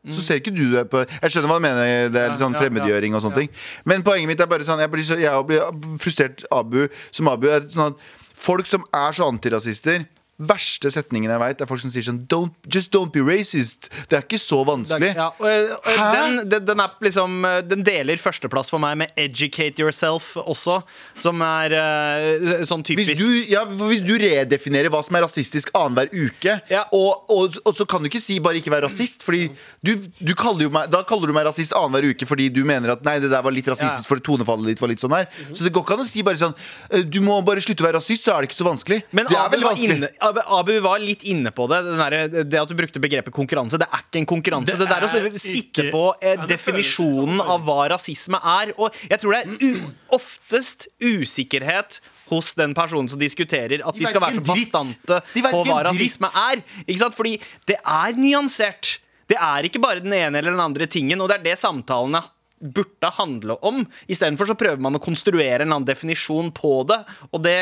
D: Så ser ikke du deg på Jeg skjønner hva du mener. Det er litt sånn
E: ja,
D: fremmedgjøring og sånne ting. Men poenget mitt er bare sånn Jeg blir, så, jeg blir frustrert Abu, som Abu. Er sånn at folk som er så antirasister Verste setningen jeg veit, er folk som sier sånn don't, Just don't be racist. Det er ikke så vanskelig.
B: Ja, og, eh, og
D: Hæ?
B: den, den, den, er liksom, den deler førsteplass for meg med 'Educate Yourself' også, som er eh, sånn typisk
D: Hvis du, ja, for hvis du redefinerer hva som er rasistisk annenhver uke,
B: Ja.
D: og, og, og så kan du ikke si bare ikke vær rasist, Fordi du, du kaller jo meg, da kaller du meg rasist annenhver uke fordi du mener at nei, det der var litt rasistisk,
B: Ja.
D: for tonefallet ditt var litt sånn her. Så det går ikke an å si bare sånn eh, du må bare slutte å være rasist, så er det ikke så vanskelig.
B: Men
D: det er
B: Abu
D: veldig
B: var,
D: vanskelig.
B: inne, Abu, Abu var litt inne på det. Den derre- det at du brukte begrepet konkurranse. Det er ikke en konkurranse. Det,
E: Det
B: der å
E: er
B: sitte
E: ikke-
B: på eh,
C: det
B: definisjonen
C: føles sånn.
B: av hva rasisme er. Og jeg tror det er u oftest usikkerhet hos den personen som diskuterer at de,
D: vet
B: skal være
D: ikke
B: så
D: en dritt.
B: bastante
D: De vet
B: på
D: ikke
B: hva
D: en dritt.
B: rasisme er. Ikke sant? Fordi det er nyansert. Det er ikke bare den ene eller den andre tingen, og det er det samtalene burde handle om. Istedenfor så prøver man å konstruere en eller annen definisjon på det, og det,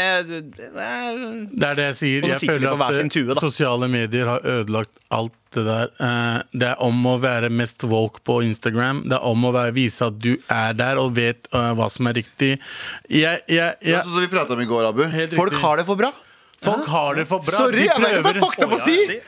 B: det er
E: Det er det jeg sier.
B: Og så
E: Jeg
B: sitter de
E: føler
B: på hver
E: at
B: sin tue, da.
E: eh, sosiale medier har ødelagt alt det der. Eh, Det er om å være mest woke på Instagram. Det er om å være, vise at du er der og vet eh, hva som er riktig. Jeg, jeg,
D: Ja.
E: jeg,
D: Sånn som vi prata om i går, Abu.
E: Helt
D: Folk
E: riktig.
D: har det for bra.
E: folk har det for bra.
D: Sorry,
E: de
D: jeg vet ikke
E: prøver.
D: hva fuck det er på å si!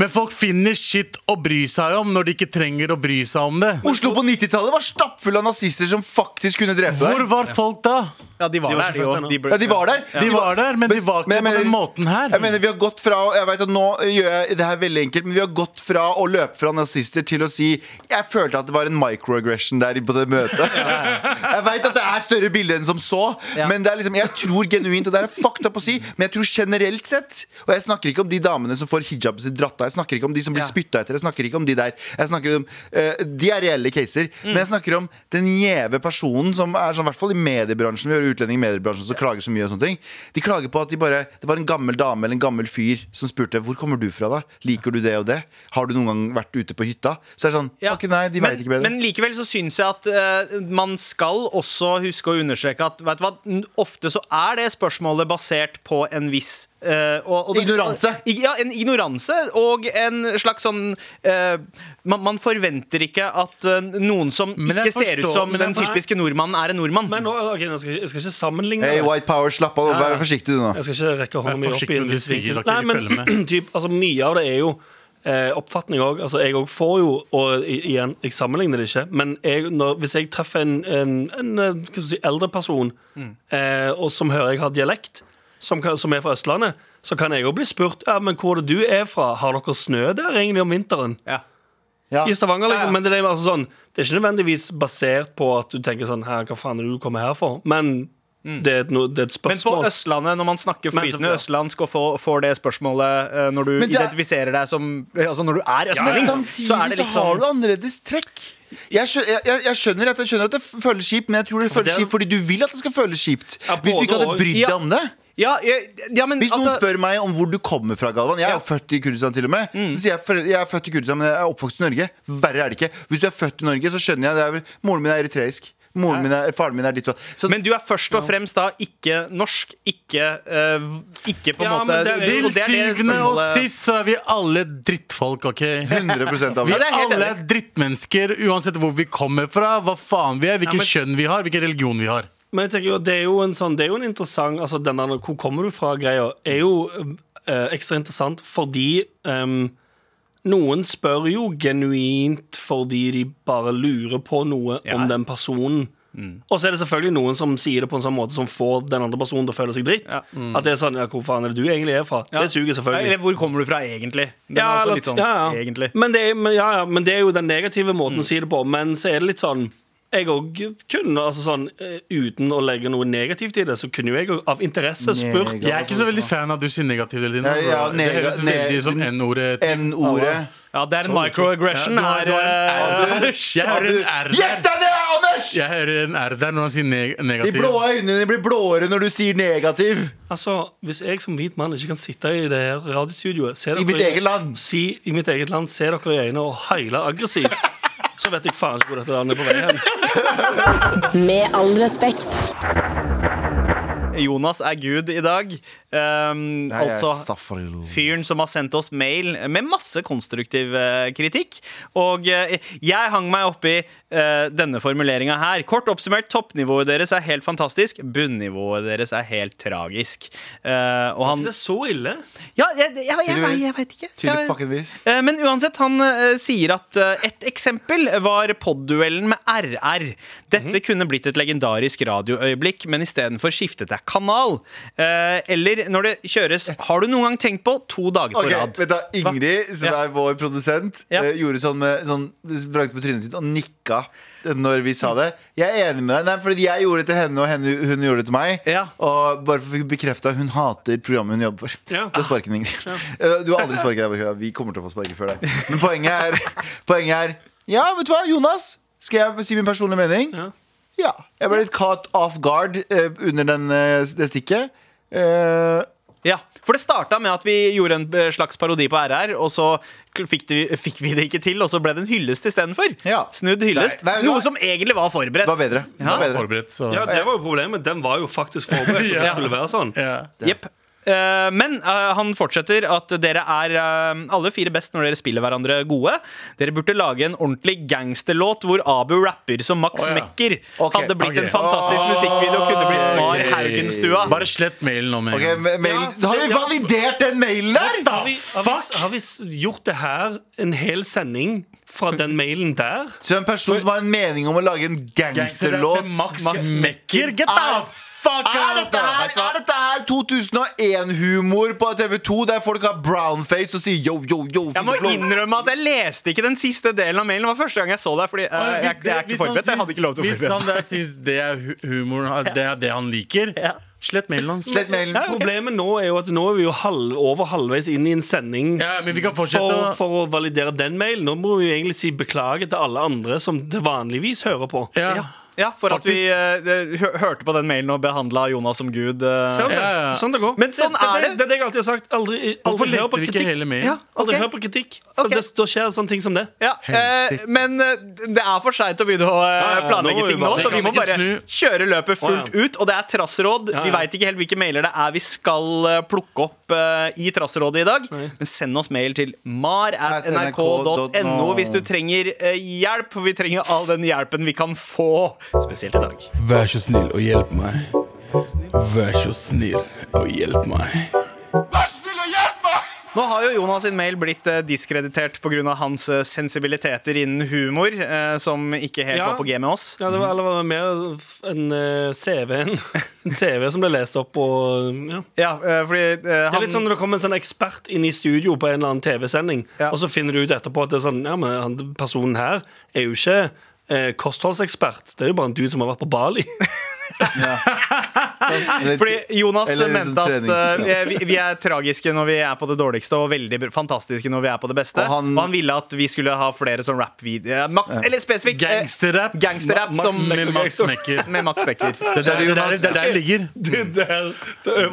E: Men folk finner shit å bry seg om når de ikke trenger å bry seg om det.
D: Oslo på 90-tallet var stappfull av nazister som faktisk kunne drepe
E: Hvor
D: deg.
E: var folk da?
B: Ja, de var,
C: var
B: der,
C: ikke
B: de
C: født
B: òg.
C: ennå.
B: ble-
D: Ja, de var der.
E: De var der, men de var ikke
D: Men jeg
E: på den
D: mener-
E: måten her.
D: Jeg mener vi har gått fra Jeg vet at nå gjør jeg det her veldig enkelt Men vi har gått fra å løpe fra nazister til å si Jeg følte at det var en microaggression der på det møtet Jeg vet at det er større bilde enn som så
B: Ja.
D: Men det er liksom, jeg tror genuint Og det er fucked up å si Men jeg tror generelt sett Og jeg snakker ikke om de damene som får hijaben sin dratt av Jeg snakker ikke om de som blir spyttet etter Jeg snakker ikke om de der Jeg snakker om eh, De er reelle caser
B: Mm.
D: Men jeg snakker om den jeve personen Som er sånn, i hvert fall i mediebransjen Vi hører utlendinger i mediebransjen Som klager så mye og sånne ting De klager på at de bare Det var en gammel dame eller en gammel fyr Som spurte Hvor kommer du fra da? Liker du det og det? Har du noen gang vært ute på hytta? Så er det sånn
B: Ja.
D: Ok, nei, de
B: men,
D: vet ikke bedre
B: Men likevel så syns jeg at eh, man skal også huske å understreke at vet du hva, n- ofte så er det spørsmålet basert på en viss eh, og, og det-
D: Ignoranse.
B: I- ja, en ignoranse og en slags sånn eh, man, man forventer ikke at eh, noen som
E: Men
B: ikke
E: jeg
B: ser ut
E: forstår-
B: som
E: men jeg
B: den
E: forstår-
B: typiske nordmannen, er en nordmann.
C: Men nå, ok, nå skal jeg, jeg skal ikke sammenligne
D: Hey,
C: det.
D: white power, slapp av Vær forsiktig du nå
C: Jeg skal ikke rekke hånda
E: Vær
C: mi opp
E: forsiktig
C: i en
E: med det du sier, da
C: Nei,
E: kan vi
C: men
E: følge
C: typ, altså, Mye av det er jo eh, oppfatning òg. Altså, jeg òg får jo Og i- igjen, jeg sammenligner det ikke, men jeg, når, hvis jeg treffer en, en, en eh, hva skal jeg si, eldre person
D: Mm.
C: eh, og som hører jeg har dialekt, som, kan, som er fra Østlandet, så kan jeg òg bli spurt ja, men hvor er det du er fra. Har dere snø der egentlig om vinteren?
B: Ja.
D: Ah. ja.
C: I Stavanger,
B: Ja, ja.
C: liksom. Men det er, altså sånn, det er ikke nødvendigvis basert på at du tenker sånn Her, hva faen er det du kommer her for? Men
D: Mm.
C: det, er et no, det er et
B: Men på
C: spørsmål.
B: Østlandet, når man snakker
C: Men
B: flytende
C: selvfølgelig.
B: østlandsk og får, får det spørsmålet eh, når du
D: Men det er-
B: identifiserer deg som Altså når du er
D: Men
B: østlending,
D: samtidig
B: så er det litt
D: så har
B: sånn
D: du annerledes trekk. Jeg skjønner, jeg, jeg- jeg, skjønner at, jeg skjønner at det f- føles kjipt, men jeg tror det føles
C: det er-
D: kjipt fordi du vil at det skal føles kjipt.
C: Ja,
D: Hvis du ikke
C: både
D: hadde
C: og.
D: brydd deg
B: Ja.
D: om det.
B: Ja, ja, ja, men
D: Hvis noen
B: altså-
D: spør meg om hvor du kommer fra, Galvan Jeg er
B: Ja.
D: jo
B: Mm.
D: født i Kurdistan, til og med. Så sier jeg "Foreldre, jeg er født i Kurdistan, men jeg er oppvokst i Norge. Verre er det ikke. Hvis du er født i Norge, så skjønner jeg det. Er, vel- moren min er eritreisk. Moren min er, faren min er ditt og Så
B: Men du er først og fremst da ikke norsk, ikke, eh, ikke på en
C: Ja,
B: måte
C: men det
B: og
C: er-
E: Til
B: det er det
E: syvende og
B: spørsmålet-
E: sist så er vi alle drittfolk, OK?
D: 100 av
E: Vi
D: det.
B: det er helt
E: alle
B: enig.
E: er drittmennesker, uansett hvor vi kommer fra, hva faen vi er,
C: Ja,
E: hvilket
C: men-
E: kjønn vi har, hvilken religion vi har.
C: Men jeg tenker jo, det er jo en sånn Det er jo en interessant Altså, den der Hvor kommer du fra-greia er jo eh, ekstra interessant fordi ehm, noen spør jo genuint fordi de bare lurer på noe om den personen. Og så er det selvfølgelig noen som sier det på en sånn måte som får den andre personen til å føle seg dritt. At det er sånn Ja, hvor faen er det du egentlig er fra? Det suger selvfølgelig.
B: Eller hvor kommer du fra egentlig? Den
C: Ja,
B: er også
C: eller-
B: litt sånn,
C: ja, ja.
B: egentlig
C: Men det, er, men, ja, ja, men det er jo den negative måten å si det på. Men så er det litt sånn Jeg òg kunne, altså sånn eh, uten å legge noe negativt i det, så kunne jo jeg også av interesse spurt
D: Nega-
E: Jeg er ikke så veldig fan av at du sier negativt hele tiden.
D: Ja, ja,
E: bro.
D: nega-
E: det høres
D: ne-
E: veldig som N-ordet.
D: N-ordet.
B: Ja, det er en microaggression
E: Ja, du har-
B: her
E: du har
B: eh,
D: R.
E: en
B: Anders.
E: Jeg hører en R
D: Gjett
E: der.
D: deg det, Anders!
E: Jeg hører en R der når han sier neg
D: De
E: negativ.
D: blå øynene dine blir blåere når du sier negativ.
C: Altså, Hvis jeg som hvit mann ikke kan sitte i det her radiostudioet se
D: I
C: dere
D: mitt eget land.
C: Si, I mitt eget land, se dere i øynene og heile aggressivt, så vet jeg faen ikke hvor dette landet er på vei hen.
A: Med all respekt.
B: Jonas er Gud i dag. Um,
D: Nei, jeg er
B: altså
D: Staffarello.
B: fyren som har sendt oss mail med masse konstruktiv eh, kritikk. Og eh, jeg hang meg opp i eh, denne formuleringa her. Kort oppsummert, toppnivået deres er helt fantastisk. Bunnivået deres er helt tragisk. Eh, og han
C: Det er så ille.
B: Ja, jeg, jeg, jeg, jeg, jeg, jeg veit ikke.
D: Tydelig
B: Jeg-
D: fucking vis.
B: Eh, Men uansett, han eh, sier at eh, et eksempel var podduellen med RR. Dette
D: Mhm.
B: kunne blitt et legendarisk radioøyeblikk, men istedenfor skiftet jeg kanal. Eh, eller når det kjøres Har du noen gang tenkt på to dager på
D: Ok,
B: rad?
D: vet du, hva? Ingrid, som
B: Ja.
D: er vår produsent,
B: Ja.
D: eh, gjorde sånn med sånn, vrangte på trynet sitt og nikka når vi sa det. Jeg er enig med deg. Nei, fordi jeg gjorde det til henne, og henne, hun gjorde det til meg.
B: Ja.
D: Og bare for å få bekrefta hun hater programmet hun jobber for.
C: Ja.
D: Du har sparken, Ingrid. Eh, Du har aldri sparket deg. Vi kommer til å få sparken før deg. Men poenget er, poenget er Ja, vet du hva, Jonas? Skal jeg si min personlige mening?
C: Ja.
D: Ja. Jeg ble litt caught off guard eh, under den, eh, det stikket. Eh,
B: Ja, For det starta med at vi gjorde en eh, slags parodi på RR, og så kl- fikk, det, fikk vi det ikke til, og så ble det en hyllest istedenfor.
D: Ja.
B: Snudd hyllest.
D: Nei, nei, det var-
B: Noe som egentlig var forberedt.
D: Det var bedre. Det
B: Ja.
D: var bedre.
E: Forberedt, så
C: Ja, det var jo problemet. Den var jo faktisk forberedt på at det skulle være sånn.
E: Ja.
B: Jepp. Eh, men eh, han fortsetter at dere er eh, alle fire best når dere spiller hverandre gode. Dere burde lage en ordentlig gangsterlåt hvor Abu rapper som Max
E: Å, ja.
B: Mekker.
D: Ok.
B: Hadde blitt
E: Ok.
B: en fantastisk musikkvideo og kunne blitt Mar
E: Ok.
B: Haugenstua.
E: Bare slett mailen nå med
D: Ok,
E: en gang.
D: men- men-
C: Ja, for
D: Har
C: det-
D: vi
C: ja.
D: validert den mailen der?!
C: Har vi, har, vi, har vi s- gjort det her en hel sending fra den mailen der?
D: Så en person som har en mening om å lage en gangsterlåt
E: Max, Max Mekker. Get
D: Er-
E: the fuck
D: er
E: out
D: dette
E: of
D: her, er dette her 2001-humor på TV2 der folk har brownface og sier yo, yo, yo?
B: Jeg må innrømme at jeg leste ikke den siste delen av mailen. Det var første gang jeg så deg. Fordi eh, jeg, jeg er ikke forberedt. Jeg hadde ikke lov til å
E: Hvis han
B: forberede
E: der syns det er hu- humor, at det er det han liker,
B: Ja.
E: slett mailen hans.
D: Slett mailen.
B: Ja, ok.
C: Problemet nå er jo at nå er vi jo halv, over halvveis inn i en sending.
E: Ja, men vi kan fortsette
C: For,
E: å
C: for å validere den mailen. Nå må vi jo egentlig si beklage til alle andre som til vanligvis hører på.
E: ja.
B: Ja, for at vi eh, hø- hørte på den mailen og behandla Jonas som gud. eh.
C: Ser du?
E: Ja, ja, ja.
C: Sånn det går.
B: Men sånn
C: det,
B: er
C: det,
B: det.
C: det er det jeg alltid har sagt. Aldri,
E: Hvorfor
C: aldri hør
E: leste
C: på
E: vi ikke
C: kritikk.
E: hele mailen?
B: Ja,
C: Aldri
B: ok.
C: hør på kritikk. For
B: Ok.
C: det, da skjer sånne ting som det.
B: Ja, eh,
D: Hensikt.
B: men eh, det er for seint å begynne å eh,
C: ja, nå
B: planlegge
C: må vi
B: ting nå,
C: bare-
B: så vi
E: Vi
B: må
E: kan ikke
B: bare
E: snu.
B: kjøre løpet fullt
C: Å, ja.
B: ut. Og det er trassråd.
C: Ja,
B: Vi
C: ja.
B: veit ikke helt hvilke mailer det er vi skal eh, plukke opp eh, i trassrådet i dag. Men send oss mail til mar.nrk.no hvis du trenger eh, hjelp. For vi trenger all den hjelpen vi kan få, spesielt i dag.
F: Vær så snill og hjelp meg. Vær så snill og hjelp meg.
B: Nå har jo Jonas sin mail blitt eh, diskreditert pga. hans eh, sensibiliteter innen humor, eh, som ikke helt
C: Ja.
B: var på G med oss.
C: Ja, det var, eller var det mer f- en eh, CV en, en CV som ble lest opp og ja.
B: Ja, eh, fordi eh,
C: Det
B: han
C: er litt sånn når det kommer en sånn ekspert inn i studio på en eller annen TV-sending,
B: Ja.
C: og så finner du ut etterpå at det er sånn, ja, men han, personen her er jo ikke eh, kostholdsekspert. Det er jo bare en dude som har vært på Bali.
B: Fordi Jonas
D: Eller litt
B: mente at
D: treningsprogram.
B: eh, vi, vi er tragiske når vi er på det dårligste, og veldig br- fantastiske når vi er på det beste.
D: Og
B: Og han,
D: han-
B: ville at vi skulle ha flere sånn rap-videoer. Max, Eller spesifikt eh,
E: Gangsterrap.
B: gangsterrap
E: Ma- Max
B: som-
E: Mekker. Med Max Mekker.
B: Med Max Becker.
E: Det er der det, er der- det, er der det ligger.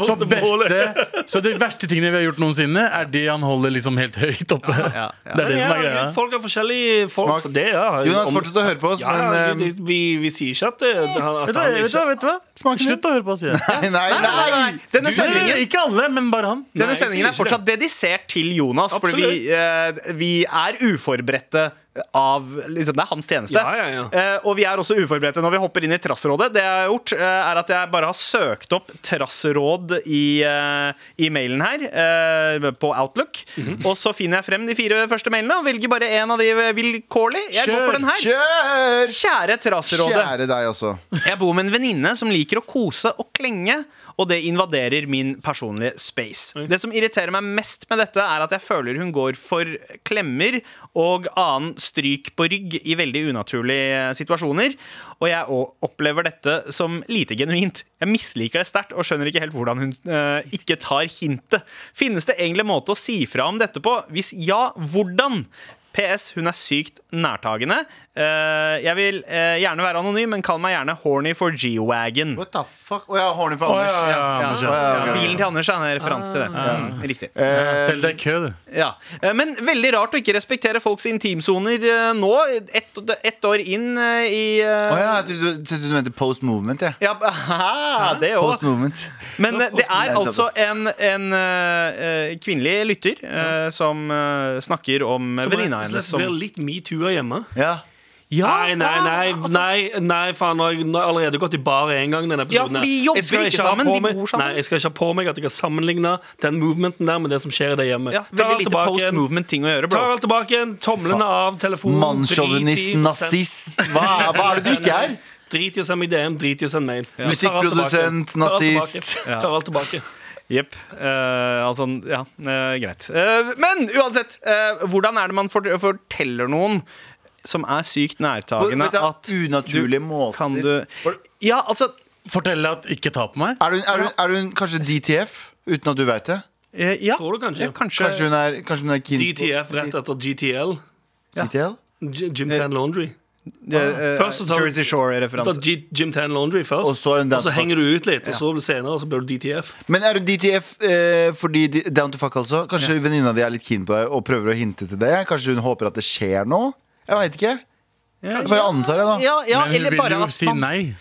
E: Så, beste, så det verste tingene vi har gjort noensinne, er de han holder liksom helt høyt oppe.
B: ja, ja.
E: Det er det som er
C: Ja,
E: greia.
C: Folk har forskjellig folk
D: Smak.
C: for det, ja.
D: Jonas,
C: Om-
D: fortsett å høre på oss,
C: ja,
D: men
C: vi,
D: eh,
C: vi, vi sier ikke at, det,
E: Vet
C: at
E: du hva?
C: han
E: Vet du
C: ikke
E: hva? Vet du hva? Slutt å høre på oss. sier
D: Nei,
E: jeg.
D: nei, nei!
B: Denne
E: Nei,
B: sendingen
E: Ikke alle, men bare han.
B: denne
C: Nei, jeg
B: sendingen er
C: sier ikke
B: fortsatt dedisert til Jonas, fordi vi, eh, vi er uforberedte av liksom, Det er hans tjeneste.
C: Ja, ja, ja.
B: Eh, og vi er også uforberedte når vi hopper inn i Trassrådet. Det jeg har gjort, eh, er at jeg bare har søkt opp Trassråd i, eh, i mailen her, eh, på Outlook.
C: Mhm.
B: Og så finner jeg frem de fire første mailene og velger bare én av de eh, vilkårlig. Jeg går
E: Kjør,
B: for den her.
D: Kjør!
B: Kjære Trassrådet.
D: Kjære deg også.
B: Jeg bor med en venninne som liker å kose og klenge, og det invaderer min personlige space. Det som irriterer meg mest med dette, er at jeg føler hun går for klemmer og annen stryk på rygg i veldig unaturlige eh, situasjoner, og jeg o- opplever dette som lite genuint. Jeg misliker det sterkt og skjønner ikke helt hvordan hun eh, ikke tar hintet. Finnes det egentlig en måte å si fra om dette på? Hvis ja, hvordan? PS, hun er sykt nærtagende. Eh, jeg vil eh, gjerne være anonym, men kall meg gjerne horny for G-wagon.
D: What the fuck? Å ja, horny for Anders.
E: ja, ja,
B: Ja,
E: Anders,
B: ja,
E: Ah, ja.
B: ja. Bilen til Anders er en referanse til det. Mm, riktig.
E: Stell deg i kø, du.
B: Ja. Eh, Men veldig rart å ikke respektere folks intimsoner eh, nå, ett ett år inn eh, i
D: Å
B: eh,
D: ja, jeg trodde jeg trodde du mente post movement, jeg.
B: ja, aha, det òg.
D: Post movement.
B: Men eh, det er altså en, en eh, eh, kvinnelig lytter eh, som eh, snakker om eh,
C: Som
B: venninna
C: rett og
B: hennes
C: slett blir
B: som
C: litt metoo hjemme.
D: Ja.
C: Nei, nei, nei, nei, nei faen, nå har jeg nå har jeg allerede gått i bar én gang. Denne
B: altså. Ja, for de jobber
C: episoden her. Jeg skal
B: ikke
C: ha
B: sammen,
C: på
B: de
C: meg-
B: bor sammen.
C: Nei, jeg skal ikke ha på meg at jeg har sammenligna den movementen der med det som skjer i det hjemmet.
B: ja,
C: Ta alt
B: Veldig lite
C: tilbake
B: post
C: igjen.
B: movement-ting å gjøre,
C: Tar
B: bro.
C: alt tilbake igjen. Tomlene av telefonen. drit i å
D: Mannssjåvinist,
C: sende-
D: nazist. Hva, hva er det du ikke er?
C: Drit i å sende meg DM, drit i å sende mail. Tar alt tilbake.
D: Musikkprodusent,
C: Tar alt tilbake.
D: nazist.
C: Tar alt tilbake.
B: Jepp. Eh, altså, ja, eh, greit. Eh, men uansett, eh, hvordan er det man fort forteller noen som er sykt nærtagende,
D: På- vet du,
B: at du-
D: unaturlige måter.
B: Kan du Ja, altså
E: Fortell at ikke ta på meg.
D: Er hun, er, hun, er hun kanskje DTF, uten at du veit det?
B: eh, Ja,
C: Tror du kanskje?
B: ja, kanskje,
D: Kanskje hun er, kanskje hun er keen på
C: DTF rett etter GTL.
D: DTL?
C: G Gym Tan Laundry.
B: eh,
C: Først så tar du-
B: Jersey
C: Ta
B: Shore-referanse.
C: G- Jim Tan Laundry først,
D: Og så er det den-
C: henger du ut litt, og så blir det senere, og så blir du DTF.
D: Men er du DTF eh, fordi de, Down to fuck, altså? Kanskje venninna di er litt keen på deg og prøver å hinte til det? Kanskje hun håper at det skjer noe? Jeg veit ikke. Jeg bare antar det, da.
B: Ja, ja,
E: Men hun
B: eller
E: vil
B: bare
E: jo
B: at
E: si
B: man
E: nei.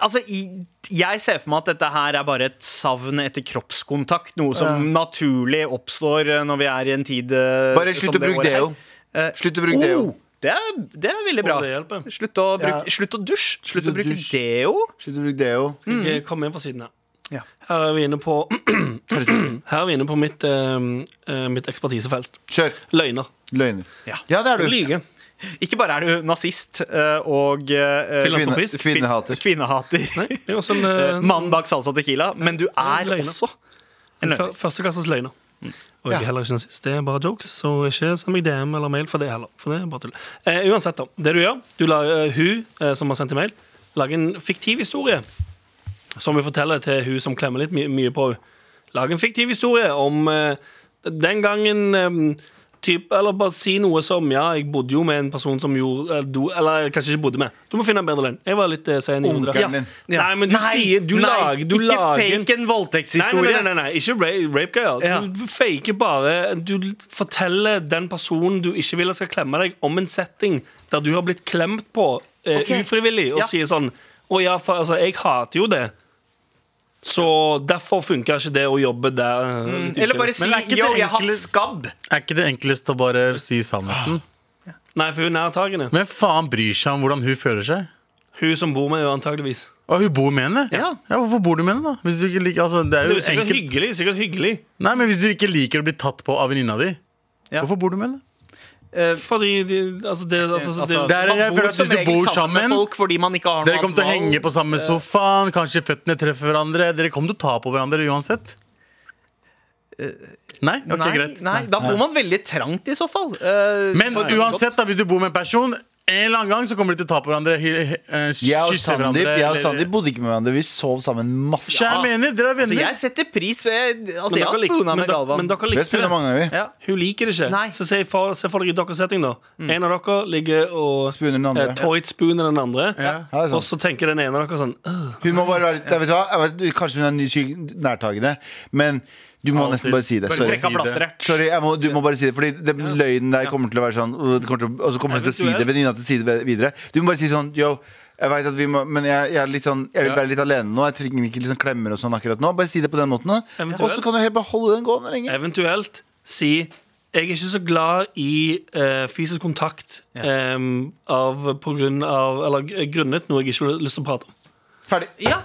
B: Altså, i- jeg ser for meg at dette her er bare et savn etter kroppskontakt. Noe som naturlig oppstår eh, når vi er i en tid eh,
D: Bare
B: som
D: slutt å bruke
B: året her.
D: deo.
B: Eh,
D: Slutt å bruke E deo.
B: oh, det, er, det er veldig bra.
C: Å, det hjelper.
B: Slutt å, bruke,
D: Ja.
B: slutt å dusje. Slutt,
D: Slutt
B: å
D: å
B: bruke
D: dusje.
B: deo.
D: Slutt å bruke E deo.
C: Jeg kommer inn fra siden her.
B: Ja.
C: Her er vi inne på Her er vi inne på mitt, eh, eh, mitt ekspertisefelt.
D: Kjør.
C: Løgner.
D: Løgner.
B: Ja.
D: Ja, det er du.
C: Lyge.
B: Ikke bare er du nazist eh, og eh,
D: Kvinne,
C: Filantropist.
D: kvinnehater.
B: kvinnehater.
C: Nei, det er også en
B: Eh,
C: eh,
B: Mannen bak salsa tequila, men du er
C: Løgner.
B: også
E: altså.
C: En
B: en
C: fø-
B: løgner.
C: Førsteklasses løgner. Og jeg er
D: Ja.
C: heller ikke nazist. Det er bare jokes. Så ikke send meg DM eller mail for det heller. For det er bare tull. Eh, uansett, da. Det du gjør du lar, eh, Hun eh, som har sendt i mail, lage en fiktiv historie. Som vi forteller til hun som klemmer litt my mye på henne. Lag en fiktiv historie om eh, den gangen eh, typ, Eller bare si noe som Ja, jeg bodde jo med en person som gjorde eh, do, Eller jeg kanskje ikke bodde med. Du må finne en bedre løgn. Jeg var litt eh, sein. i hodet.
D: Onkelen din.
C: Nei, men du sier Du
B: nei,
C: lager, du
B: ikke
C: lager
B: fake en
C: Nei, nei,
B: voldtektshistorie.
C: nei, nei, nei, ikke rape, rape girl.
B: Ja.
C: Du faker bare Du l- forteller den personen du ikke vil at skal klemme deg, om en setting der du har blitt klemt på eh,
B: Ok.
C: ufrivillig, og
B: Ja.
C: sier sånn Å ja, for altså, jeg hater jo det. Så derfor funka ikke det å jobbe der. eh, Litt
B: Eller bare
C: ukjent.
B: si
E: Men er ikke
B: 'yo,
E: det
B: jeg har
E: enkle-
B: skabb'.
E: Er ikke det enklest å bare si sannheten?
C: Nei, for hun er nærtagende.
E: Hvem faen bryr seg om hvordan hun føler seg?
C: Hun som bor med henne, antageligvis.
E: Og hun bor med henne?
B: Ja.
E: Hvorfor bor du med henne, da? Hvis du ikke liker, altså, det er
C: Det er jo
E: jo
C: sikkert
E: enkelt.
C: hyggelig. sikkert hyggelig
E: Nei, men Hvis du ikke liker å bli tatt på av venninna di,
B: Ja.
E: hvorfor bor du med henne?
C: Fordi de, altså, det, altså, det,
E: det er- jeg føler at hvis du bor sammen,
B: folk fordi man ikke har noe
E: Dere kommer til å henge på samme sofaen, kanskje føttene treffer hverandre. Dere kommer til å ta på hverandre uansett. Nei?
B: Eh,
E: Ok,
B: nei,
E: greit.
B: Nei, da bor man veldig trangt i så fall. Eh,
E: Men
B: på-
E: uansett, da, hvis du bor med en person, en eller annen gang så kommer de til å ta på hverandre. hy- hy- eh,
D: Jeg og
E: Kysse
D: Sandeep
E: hverandre.
D: jeg og
E: eller-
D: Sandeep bodde ikke med hverandre. Vi sov sammen masse.
E: Skjær mener, dere er
B: Altså,
E: venner.
B: jeg setter pris ved Altså, jeg
C: men dere
B: har
C: likte-
B: spuna
C: men
B: med
C: dere-
B: Galvan.
C: Men dere
D: Vi har
C: likte
D: spurt
C: det.
D: mange ganger, vi.
B: ja.
C: Hun liker det ikke.
B: Nei.
C: Så se for, se for dere i deres setting, da.
D: Mm.
C: En av dere ligger og
D: Spooner den andre.
C: eh, toit spooner den andre.
D: Ja, det er sant.
C: Og så tenker den ene av dere sånn «Åh,
D: Hun må bare være Nei, vet du hva? Jeg vet, Kanskje hun er ny syk nærtagende, men du må nesten bare si det.
E: Bare
D: Sorry.
E: trekke av
B: plasteret.
D: Sorry, jeg må, du må bare si det, Fordi den løgnen der kommer til å være sånn øh, det kommer til, å- Og så kommer hun til å si det,
C: Eventuelt.
D: venninna til å si det videre. Du må bare si sånn Yo, jeg vet at vi må Men jeg, jeg er litt sånn Jeg vil
E: Ja.
D: være litt alene nå. Jeg trenger ikke liksom klemmer og sånn akkurat nå. Bare si det på den måten. da.
C: Eventuelt.
D: Og så kan du helt bare holde den gående lenge.
C: Eventuelt si jeg er ikke så glad i eh, fysisk kontakt em, av, på grunn av, eller g- grunnet noe jeg ikke har lyst til å prate om.
D: Ferdig.
B: ja.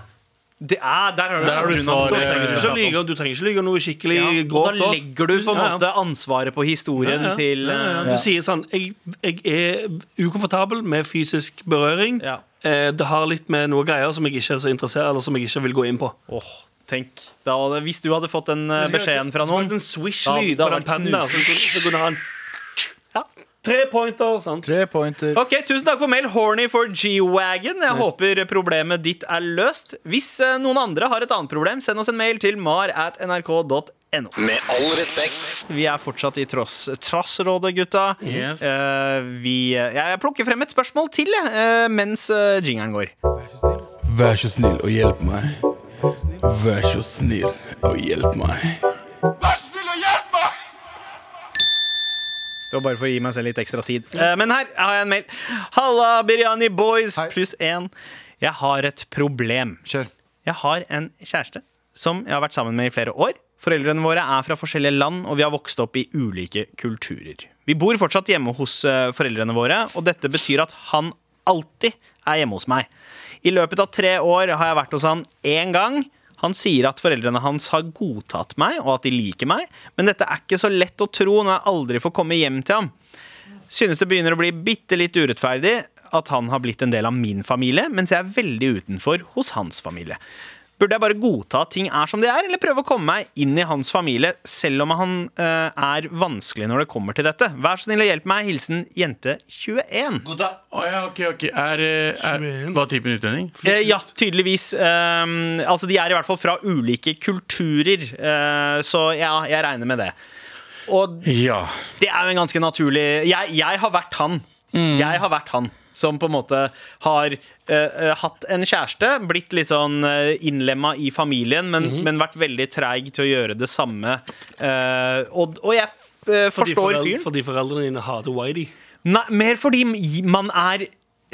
B: Det er, der har du,
E: Der har du
B: grunnen.
E: svaret.
C: Du
E: Bare-
C: trenger ikke å lyge, du trenger ikke lyge om noe skikkelig
B: Ja, og
C: grovt.
B: da legger du på en
C: Ja, ja.
B: måte ansvaret på historien
C: Ja, ja.
B: til
C: ja, ja.
B: eh,
C: Du sier sånn jeg, jeg er ukomfortabel med fysisk berøring.
B: Ja.
C: Eh, det har litt med noe greier som jeg ikke er så interessert Eller som jeg ikke vil gå inn på.
B: Åh, tenk da, hadde- Hvis du hadde fått den eh, beskjeden fra
C: Så
B: noen
C: En
B: Ja, det
C: swish-lyd på
B: hadde
C: den pennen der.
B: vært
C: Så kunne, så kunne han ja. Tre pointer. Sant?
D: Tre pointer.
B: Ok, Tusen takk for mail, horny for G-Wagon. Jeg håper problemet ditt er løst. Hvis eh, noen andre har et annet problem, send oss en mail til mar at nrk.no.
G: Med all respekt.
B: Vi er fortsatt i tross, Trassrådet, gutta.
E: Yes.
B: Eh, vi, jeg plukker frem et spørsmål til jeg, eh, mens eh, jingeren går.
F: Vær så snill og hjelp meg. Vær så snill og hjelp meg.
B: Det var bare for å gi meg selv litt ekstra tid. Eh, men her har jeg en mail. Halla, Biryani Boys
D: Hei.
B: pluss én. Jeg har et problem.
D: Kjør.
B: Jeg har en kjæreste som jeg har vært sammen med i flere år. Foreldrene våre er fra forskjellige land, og vi har vokst opp i ulike kulturer. Vi bor fortsatt hjemme hos eh, foreldrene våre, og dette betyr at han alltid er hjemme hos meg. I løpet av tre år har jeg vært hos han én gang. Han sier at foreldrene hans har godtatt meg, og at de liker meg, men dette er ikke så lett å tro når jeg aldri får komme hjem til ham synes det begynner å bli bitte litt urettferdig at han har blitt en del av min familie, mens jeg er veldig utenfor hos hans familie. Burde jeg bare godta at ting er som de er, eller prøve å komme meg inn i hans familie, selv om han eh, er vanskelig når det kommer til dette? Vær så snill og hjelp meg. Hilsen jente 21.
E: Å ja, ok, ok. Er, eh, er,
C: 21.
E: hva typen utlending?
B: Eh, ja, tydeligvis. Ehm, altså, de er i hvert fall fra ulike kulturer, eh, så ja, jeg regner med det. Og
E: Ja.
B: det er jo en ganske naturlig Jeg, jeg har vært han. Jeg har vært han. som på en måte har eh, eh, hatt en kjæreste, blitt litt sånn uh, innlemma i familien, men, men vært veldig treig til å gjøre det samme. Eh, og, og jeg f- eh,
C: Fordi
B: forstår
C: forel-
B: fyren.
C: Fordi foreldrene dine hater Whitey.
B: Nei, mer fordi man er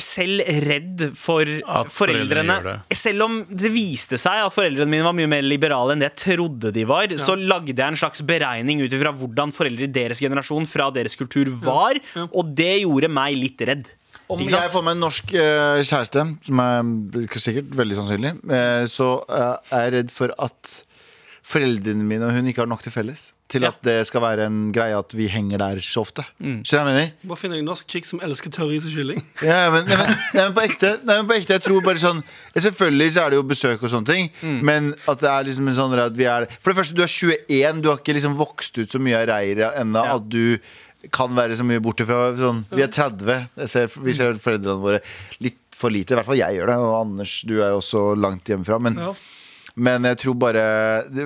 B: selv redd for
E: At
B: foreldrene.
E: foreldrene gjør
B: Selv om det viste seg at foreldrene mine var mye mer liberale enn det jeg trodde de var, så lagde jeg en slags beregning ut ifra hvordan foreldre i deres generasjon fra deres kultur var, og det gjorde meg litt redd. Ikke
D: Hvis jeg
B: sant?
D: får meg en norsk eh, kjæreste, som er mm, sikkert veldig sannsynlig, eh, så eh, er jeg redd for at foreldrene mine og hun ikke har nok til felles. Til
B: Ja. Mm.
D: at det skal være en greie at vi henger der så ofte. Skjønner du hva jeg mener?
C: Bare finner jeg en norsk chick som elsker tørris og kylling.
D: Ja, ja, men, nei, men, nei, men på ekte, nei, men på ekte Jeg tror bare sånn ja, Selvfølgelig så er det jo besøk og sånne ting Men at det er liksom en sånn at vi er For det første, du er 21 Du har ikke liksom vokst ut så mye av reiret enda At du kan være så mye borte fra sånn, Vi er 30 jeg ser, Vi ser foreldrene våre litt for lite I hvert fall jeg gjør det Og Anders, du er jo også langt hjemmefra Men,
C: Ja.
D: men jeg tror bare Du,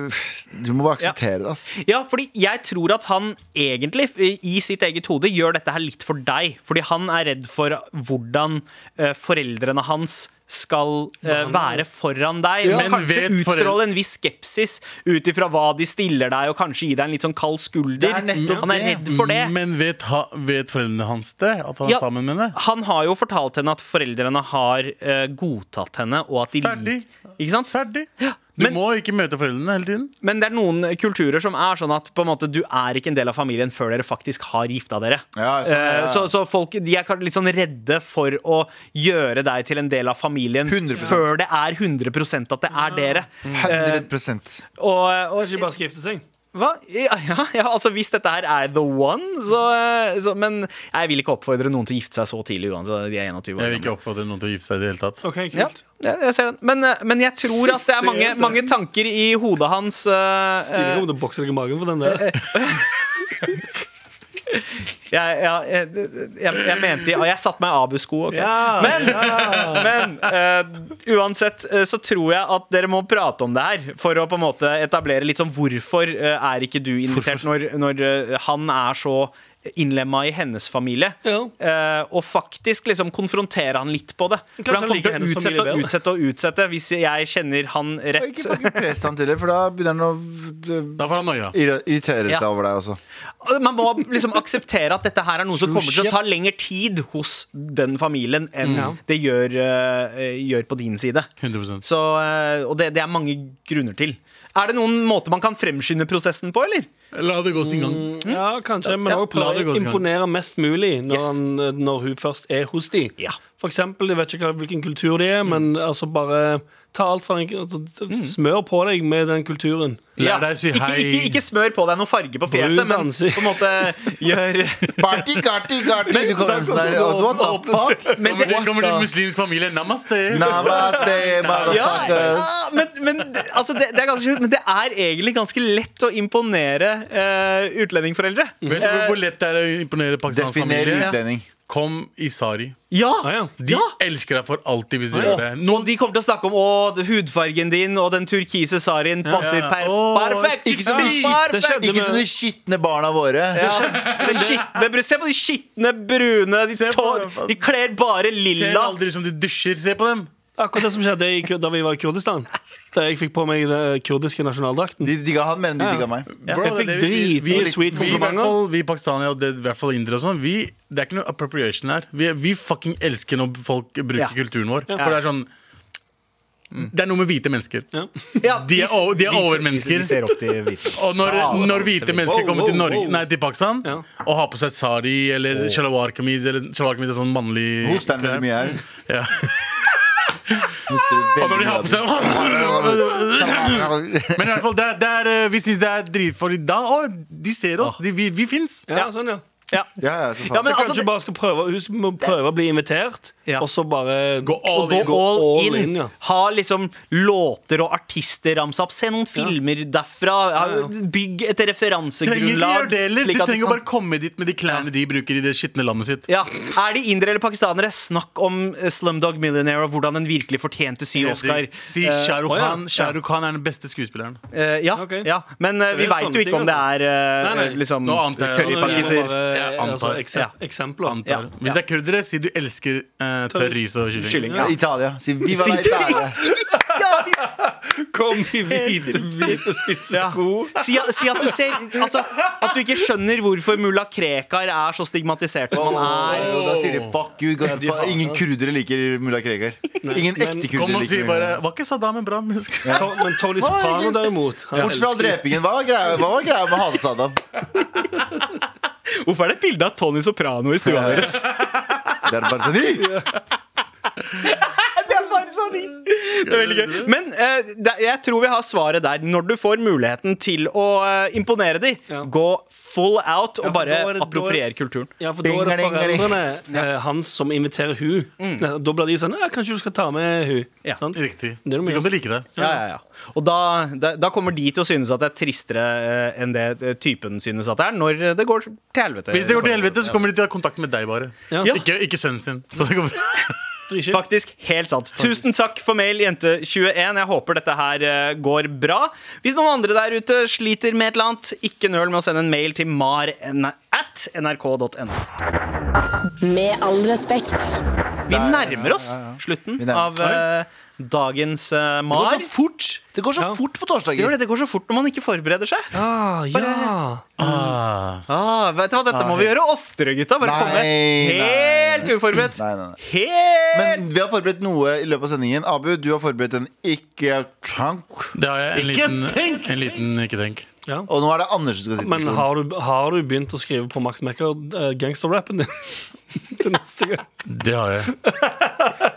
D: du må bare akseptere det ass.
B: Ja, fordi jeg tror at han egentlig, i- i sitt eget hode, gjør dette her litt for deg. Fordi han er redd for hvordan eh, foreldrene hans skal eh, være foran deg. men
E: Men
B: kanskje
E: vet
B: utstråle
E: forel-
B: en viss skepsis ut ifra hva de stiller deg, og kanskje gi deg en litt sånn kald skulder.
D: Det er nettopp
B: han er
D: det.
B: redd for det.
E: Mm. Men vet, ha, vet foreldrene hans det? At han
B: Ja.
E: er sammen med henne?
B: Han har jo fortalt henne at foreldrene har eh, godtatt henne, og at de
E: Ferdig.
B: liker Ikke sant?
E: Ferdig. Du
B: Men-
E: må ikke møte foreldrene hele tiden.
B: Men det er noen kulturer som er sånn at på en måte, du er ikke en del av familien før dere faktisk har gifta dere.
D: Ja, sånn, ja, ja.
B: Eh, Så, så folk de er kanskje litt sånn redde for å gjøre deg til en del av familien
D: 100%.
B: før det er 100 at det er dere.
D: Eh,
E: Mm.
D: 100%
B: Og, og
C: Ikke bare skal gifte seg.
B: hva? Ja, ja, ja, altså hvis dette her er the one, så, eh, så Men jeg vil ikke oppfordre noen til å gifte seg så tidlig uansett. De er 21
E: Jeg vil
B: år.
E: ikke oppfordre noen til å gifte seg i det hele tatt.
C: Ok, kult
B: Ja, ja, jeg ser den. Men, eh, men jeg tror at det er mange, mange tanker i hodet hans. eh,
C: Stilig om du bokser deg i magen for den der.
B: Jeg, jeg, jeg, jeg, jeg mente ja, Jeg satte meg i Abu-sko. ok?
C: Ja,
B: men men eh, uansett eh, så tror jeg at dere må prate om det her. For å på en måte etablere litt sånn hvorfor eh, er ikke du invitert når, når eh, han er så innlemma i hennes familie.
C: Ja.
B: Eh, og faktisk liksom konfrontere han litt på det. For han
C: han
B: kommer
C: liker
B: til å
C: hennes
B: utsette
C: familie
B: og
C: bedre.
B: utsette og utsette hvis jeg kjenner han
D: Og
B: rett.
D: ikke fucking press han til det For da begynner han å
E: Da får han noia.
D: irri- irritere seg
B: Ja.
D: over deg også
B: Man må liksom akseptere at dette her er noe som kommer til å ta
D: Shit.
B: lengre tid hos den familien enn det gjør, eh, gjør på din side.
E: 100
B: Så, eh, og det, det er mange grunner til. Er det noen måte man kan fremskynde prosessen på, eller?
E: La det gå sin gang.
B: Mm,
C: ja kanskje, men også
E: la det
C: prøve
E: gå
C: å
E: sin gang.
C: imponere mest mulig når,
B: Yes.
C: han, eh, når hun først er hos de.
B: Ja.
C: For eksempel, jeg vet ikke hva- hvilken kultur de er, men altså bare ta alt fra den altså, Smør på deg med den kulturen.
B: Ja.
E: Lær deg å si
B: ikke,
E: hei.
B: ikke, ikke smør på deg noe farge på fjeset, men
C: ansikt.
B: på en måte gjør
D: Party, party, party Du kommer sånn der og så, What the fuck?
B: Men det,
E: Kommer det kommer det en muslimsk familie. Namaste.
D: Namaste,
B: ja,
D: motherfuckers
B: ja, men, men, altså, det, det er ganske, sjukt, men det er egentlig ganske lett å imponere eh, utlendingforeldre.
E: Vet du hvor- hvor lett det er å imponere pakistansk
D: Definer
E: Sånn familie?
D: utlending
E: Kom i sari.
B: Ja!
C: Ah, ja.
E: De
B: ja.
E: elsker deg for alltid hvis du
B: Åh,
E: gjør det. Noen
B: og de kommer til å snakke om å, det- hudfargen din og den turkise sarien passer
E: Ja.
B: per
E: Åh,
B: perfekt!
D: Ikke som de
B: Perfekt!
D: skitne, ikke som de skitne barna våre
B: Ja. Det skitne, bru- se på de skitne brune. De,
E: Se på
B: tå-
E: det.
B: de kler bare
E: ser
B: lilla.
E: aldri som de dusjer. Se på dem.
C: Akkurat det som skjedde i, Kur- da vi var i Kurdistan. Da jeg fikk på meg den eh, kurdiske nasjonaldrakten.
D: De digga han, men de digga meg
E: Bro,
C: Jeg
E: det er
C: fikk
E: det vi sier.
C: drit mye sweet
E: vi, i hvert
C: komplimenter.
E: fall- vi pakistanere og det, i hvert fall indere og sånn, vi, det er ikke noe appropriation her. Vi, vi fucking elsker når folk bruker
B: Ja.
E: kulturen vår. For det er sånn Det er noe med hvite mennesker.
B: Ja,
E: De
B: vi-
E: er over- de er
B: vi-
E: overmennesker.
B: vi ser opp til hvite.
E: Og når, når hvite mennesker kommer til, Norge, nei, til Pakistan
C: Ja.
E: og har på seg sari eller shalawar-kamis Eller shalawar-kamis er sånn mannlig
D: Hoster han så mye her
E: Ja.
D: Hoster veldig
E: Og når de har på seg
D: mye.
E: Men i hvert fall, det, er- det er, eh, vi syns det er dritfarlig da. Å, de ser oss. De, vi vi fins.
C: Ah. Ja, sånn, ja.
B: Ja.
D: Ja, ja, så
B: Ja,
D: faen
B: men
C: Kanskje
B: altså, det-
C: bare skal prøve, hun må prøve å bli invitert,
B: Ja.
C: og så bare
E: Gå all
C: og
E: in.
B: Gå all, in.
C: ja.
B: Ha liksom låter og artister ramsa opp. Se noen filmer derfra. Ha- Bygg et
E: Trenger ikke
B: referansegrunnlag.
E: gjøre det heller.
B: slik
E: Du
B: at du
E: trenger
B: kan-
E: bare komme dit med de klærne de bruker i det skitne landet sitt.
B: ja. Er de indere eller pakistanere? Snakk om eh, Slumdog Millionaire og hvordan den virkelig fortjente syv Oscar.
E: Si
B: Eh,
E: Shah Rukh
C: å ja.
E: Khan. Shah Rukh Khan er den beste skuespilleren.
B: eh, ja,
C: Ok.
B: ja. Men eh,
C: Så
B: vi
C: det er
B: veit
C: sånne
B: jo ikke
C: ting, altså.
B: om det er eh,
C: Nei, nei.
B: liksom
E: Nå antar jeg-
C: Nå er det
B: currypakkiser
C: bare-
E: Jeg antar.
C: altså, ekse
B: Ja.
C: eksempler.
E: Antar. Hvis det er kurdere, si du elsker eh, tørr ris og kylling.
B: Kylling.
D: Ja.
B: Ja.
D: Italia. Si Viva
B: Si-
D: la Italia.
C: Kom i hvite, hvite spisse sko.
B: Si, si at du ser Altså, at du ikke skjønner hvorfor mulla Krekar er så stigmatisert som han er.
D: Og da sier de fuck you. God, fa- ingen kurdere liker mulla Krekar. Ingen
C: men
D: ekte
E: Kom
D: kurdere
E: og si
D: liker mulla
E: bare Var ikke Saddam en bra menneske?
C: To- Men Tony Soprano, derimot han
D: Bortsett fra
C: elsker-
D: drepingen. Hva var greia, hva var greia med å sånn, hate Saddam?
B: Hvorfor er det et bilde av Tony Soprano i stua deres?
D: Det er bare sånn «Hi!»
B: Det er bare sånn Det er veldig gøy Men eh, det- jeg tror vi har svaret der Når du får muligheten til å eh, imponere dem
C: Ja.
B: Gå full out
C: Ja,
B: og
C: for
B: bare
C: da er det- da er-
B: appropriere kulturen
C: Ja, for da er det
D: Ding, ding, ding.
C: foreldrene eh, hans som inviterer hun Ne, Da blir de sånn «Ja, 'Kanskje du skal ta med hun
B: Ja,
C: Sant?
E: Riktig.
C: Det er
E: De
C: noe
E: kommer
C: mye.
E: til å like det.
B: ja, ja, ja. Og da, da, da kommer de til å synes at det er tristere eh, enn det eh, typen synes at det er Når eh, det går til helvete
E: Hvis det går til helvete, så kommer de til å ha kontakt med deg, bare.
C: Ja.
E: Ikke, ikke sønnen sin. Så det går bra.
C: Dritskitt.
B: Faktisk helt sant. Tusen takk for mail, jente21. Jeg håper dette her eh, går bra. Hvis noen andre der ute sliter med et eller annet, ikke nøl med å sende en mail til mar at nrk.no.
A: Med all respekt.
B: Vi nærmer oss slutten
D: Vi nærmer
B: av
D: oss.
B: eh, dagens eh,
D: Det
B: mar.
D: går så fort Det går så fort på
B: Det gjør
D: torsdager.
B: det, det går så fort når man ikke forbereder seg.
C: Ah, ja.
B: Ah, vet du hva, Dette må vi gjøre oftere, gutta. Bare
D: Nei,
B: komme helt uforberedt.
D: Nei, nei, nei.
B: Helt
D: Men vi har forberedt noe i løpet av sendingen. Abu, du har forberedt en ikke-tank.
E: Det har jeg en
B: Ikke
E: liten,
B: tenk!
E: en liten ikke tenk.
C: ja.
D: Og nå er det Anders som skal sitte
C: Men
D: i stolen.
C: har du, har du begynt å skrive på Max Mekker uh, gangsterrappen din? Til neste gang.
E: Det har jeg.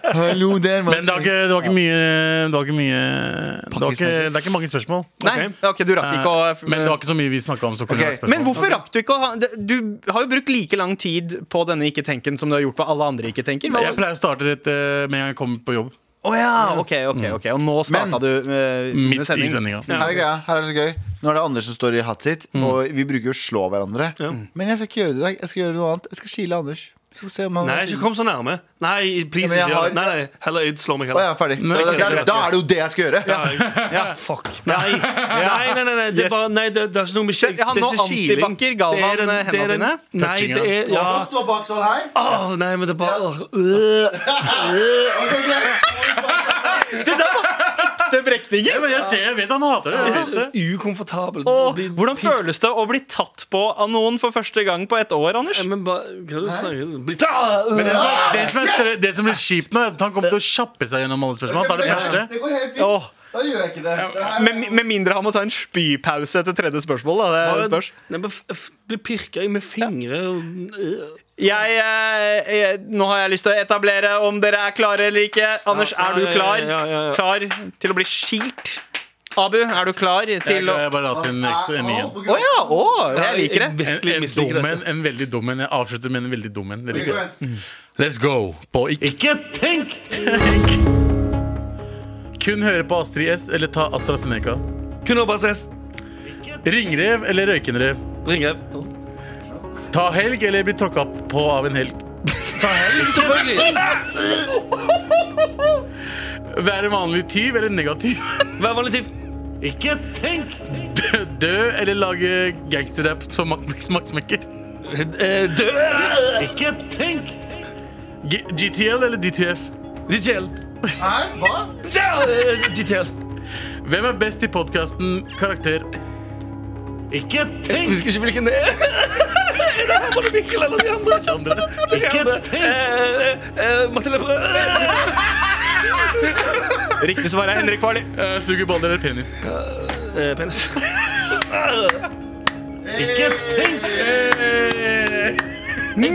D: Hallo der,
E: Men det, har ikke, det var ikke mye Det, var ikke mye, det, var ikke, det er ikke mange spørsmål.
B: Nei, ok, du rakk ikke å
E: Eh, Men det var ikke så mye vi snakka om. Så kunne
D: Ok,
E: det vært spørsmål.
B: Men hvorfor rakk du ikke å ha det- Du har jo brukt like lang tid på denne ikke-tenken som du har gjort på alle andre ikke-tenker. Hva-
E: Jeg pleier å starte rett eh, med en gang jeg kommer på jobb.
B: Å ja, ok, ok, ok Og nå starta
D: Men-
B: du eh, med
E: Midt i
B: sending.
E: sendinga.
D: Her er greia, her er det så gøy Nå er det Anders som står i hatt sitt Og vi bruker jo å slå hverandre Men jeg skal ikke gjøre det i dag Jeg skal gjøre noe annet Jeg skal kile Anders Jeg skal se om han
C: Nei,
D: er
C: ikke
D: kilen.
C: kom så nærme. Nei, please,
D: Ja, men jeg
C: ikke gjør
D: har-
C: det. Nei, nei, heller Øyd slår meg
D: Å, jeg
C: heller.
D: er ferdig da,
E: Nei, ok,
D: da,
E: greit,
D: da er det jo det jeg skal gjøre
C: Ja, jeg- ja, fuck. Nei, nei, nei, nei, nei, det er bare Nei, det, det er ikke noe med
B: Se, han
C: det er
B: nå
C: ikke kiling.
B: antibakker Galvan,
C: Det er den-
B: eh, hendene
C: det er den-
B: sine.
C: Nei, det er ja.
D: Nå står bak sånn her
C: Åh, nei, men det er bare øh.
B: Det er brekninger!
E: men jeg, ser, jeg vet han hater det. Jeg vet det.
C: Ukomfortabelt.
B: Og
C: Det-
B: hvordan føles det å bli tatt på av noen for første gang på ett år, Anders?
C: Nei, Men bare Hva er det du snakker Bli- Ah, øh.
E: Men det som, er, det, som er større, det som blir kjipt nå, er at han kommer til å kjappe seg gjennom alle spørsmål. Han tar det første.
D: går helt
B: Åh.
D: Da gjør jeg ikke det Det her-
B: Med, med mindre han må ta en spypause etter tredje spørsmål. Da, det spørs.
C: Nei, men f- f- Bli pirka i med fingre og øh.
B: Jeg, eh, jeg, nå har jeg lyst til å etablere om dere er klare eller ikke. Anders,
C: Ja,
B: er du
C: ja, ja,
B: klar?
C: ja, ja, ja.
B: Klar til å bli skilt? Abu, er du klar
E: Jeg,
B: til å
E: jeg bare la til en, ekstra- en ny en.
B: Å ja! Å, jeg liker det.
E: En,
C: virkelig
E: en,
C: misliker
E: dum
C: dette.
E: en, en veldig dum en. Jeg avslutter med en veldig dum en. Dere liker det. Let's go på ikke, tenk! Kun høre på Astrid S eller ta AstraZeneca.
C: Kunne bare ses.
E: Ringrev eller røykenrev.
C: Ringrev.
E: Ta helg eller bli tråkka på av en helg.
C: Selvfølgelig.
E: Være vanlig tyv eller negativ.
C: Vær vanlig tid.
E: Ikke tenk! Dø, dø eller lage gangsterrap som Max- Max Max Mekker.
C: Eh, Dø!
E: Ikke tenk! G GTL eller DTF?
C: DTL.
D: Hæ? Hva?
C: Ja, eh, DTL.
E: Hvem er best i podkasten Karakter? Ikke tenk!
C: Husker ikke hvilken det er. Er det Herman og Mikkel eller de andre?
E: Andre. Ikke tenk!
C: Eh, eh, eh, Mathilde Brød.
B: Riktig svar er Henrik Farley.
E: Uh, Suger baller eller penis?
C: Eh, Penis.
E: Ikke tenk!
B: Mye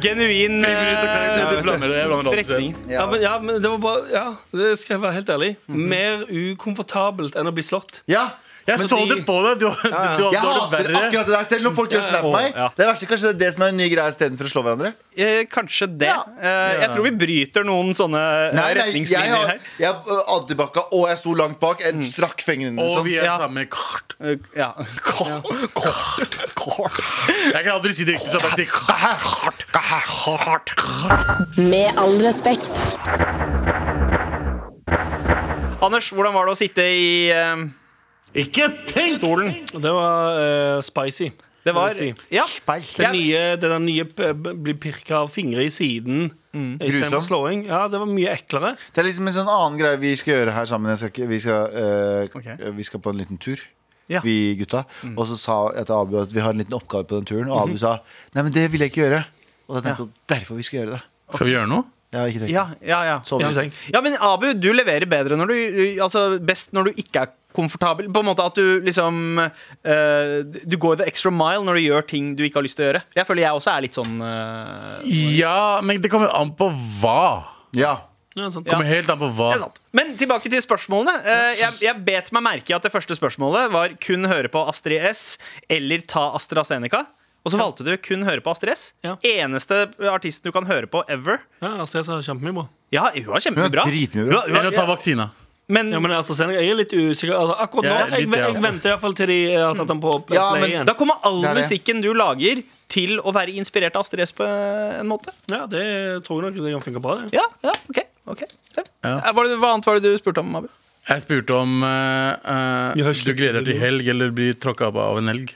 B: genuin eh,
E: Jeg blander jeg blander alt
B: brekninger.
E: selv.
C: Ja, men, ja, men det var bare Ja, det skal jeg være helt ærlig.
E: Mhm.
C: Mer ukomfortabelt enn å bli slått.
D: Ja
E: Jeg
C: Men
E: så
C: de-
E: det på deg. Du, du, du,
D: jeg
E: du har det
D: hater
E: verre.
D: akkurat det der Selv når folk gjør sånn der på meg Det er verste kanskje det er det som er en ny greie I stedet for å slå hverandre
B: Eh, kanskje det.
D: Ja.
B: Eh, jeg tror vi bryter noen sånne eh,
D: Nei, nei Jeg
B: retningslinjer
D: har
B: her.
D: Jeg har antibakka Og jeg sto langt bak Jeg strakk fingrene
E: Og
D: sånn.
E: Mm. vi er
B: Ja.
E: samme kart.
B: Eh, ja. Kort. Kort.
E: Jeg kan aldri si det riktig. Så jeg bare sier kart, kart, kart.
A: Med all respekt.
B: Anders, hvordan var det å sitte i eh,
E: Ikke tenk!
B: stolen?
C: Det var eh, spicy.
B: Det var
C: vil jeg si.
B: Ja.
C: Den
B: Jeg-
C: nye, det der nye p- b- blir pirka av fingre i siden istedenfor
D: Grusom.
C: slåing. Ja, det var mye eklere.
D: Det er liksom en sånn annen greie vi skal gjøre her sammen. Jeg skal, ikke- vi, skal, eh,
E: Ok.
D: vi skal på en liten tur.
E: Ja. Mm.
D: Vi gutta. Og så sa jeg til Abu at vi har en liten oppgave på den turen.
E: Mhm.
D: Og Abu sa nei, men det vil jeg ikke gjøre. Og det er nettopp derfor vi skal gjøre det.
E: Skal vi gjøre noe?
D: Jeg har ikke tenkt
E: Ja, ja, ja.
D: Sov
C: Ja.
D: litt.
B: Sånn Ja, men Abu, du leverer bedre når du Altså best når du ikke er komfortabel. På en måte at du liksom eh, Du går the extra mile når du gjør ting du ikke har lyst til å gjøre. Jeg føler jeg også er litt sånn eh,
E: Ja, men det kommer an på hva.
D: Ja.
C: Ja, sånn.
E: Kommer helt an på hva.
B: det er sant. Men tilbake til spørsmålene. Eh, jeg, jeg bet meg merke i at det første spørsmålet var kun høre på Astrid S eller ta AstraZeneca. Og så valgte du kun høre på Astrid S.
C: Ja.
B: Eneste artisten du kan høre på ever.
C: Ja, Astrid sa kjempemye bra.
B: Ja, hun var kjempebra.
D: Hun er dritmye bra.
B: Hun var- hun
E: Enn å ta
B: var-
E: vaksina.
B: Men,
C: Ja, men AstraZeneca, jeg er litt usikker. Altså, akkurat nå
E: Jeg er
C: jeg,
E: litt det,
C: jeg,
E: altså.
C: venter i hvert fall til de eh, har tatt den på play
D: Ja, men
C: igjen.
B: da kommer all
D: Det er det.
B: musikken du lager, til å være inspirert av Astrid S på en måte.
C: Ja, det tror jeg nok det kan funke bra. Det.
B: Ja, ja, ok, ok Eh, var det, Hva annet var det du spurte om, Abu?
E: Jeg spurte om eh, eh, du gleder deg til helg eller blir tråkka på av en elg.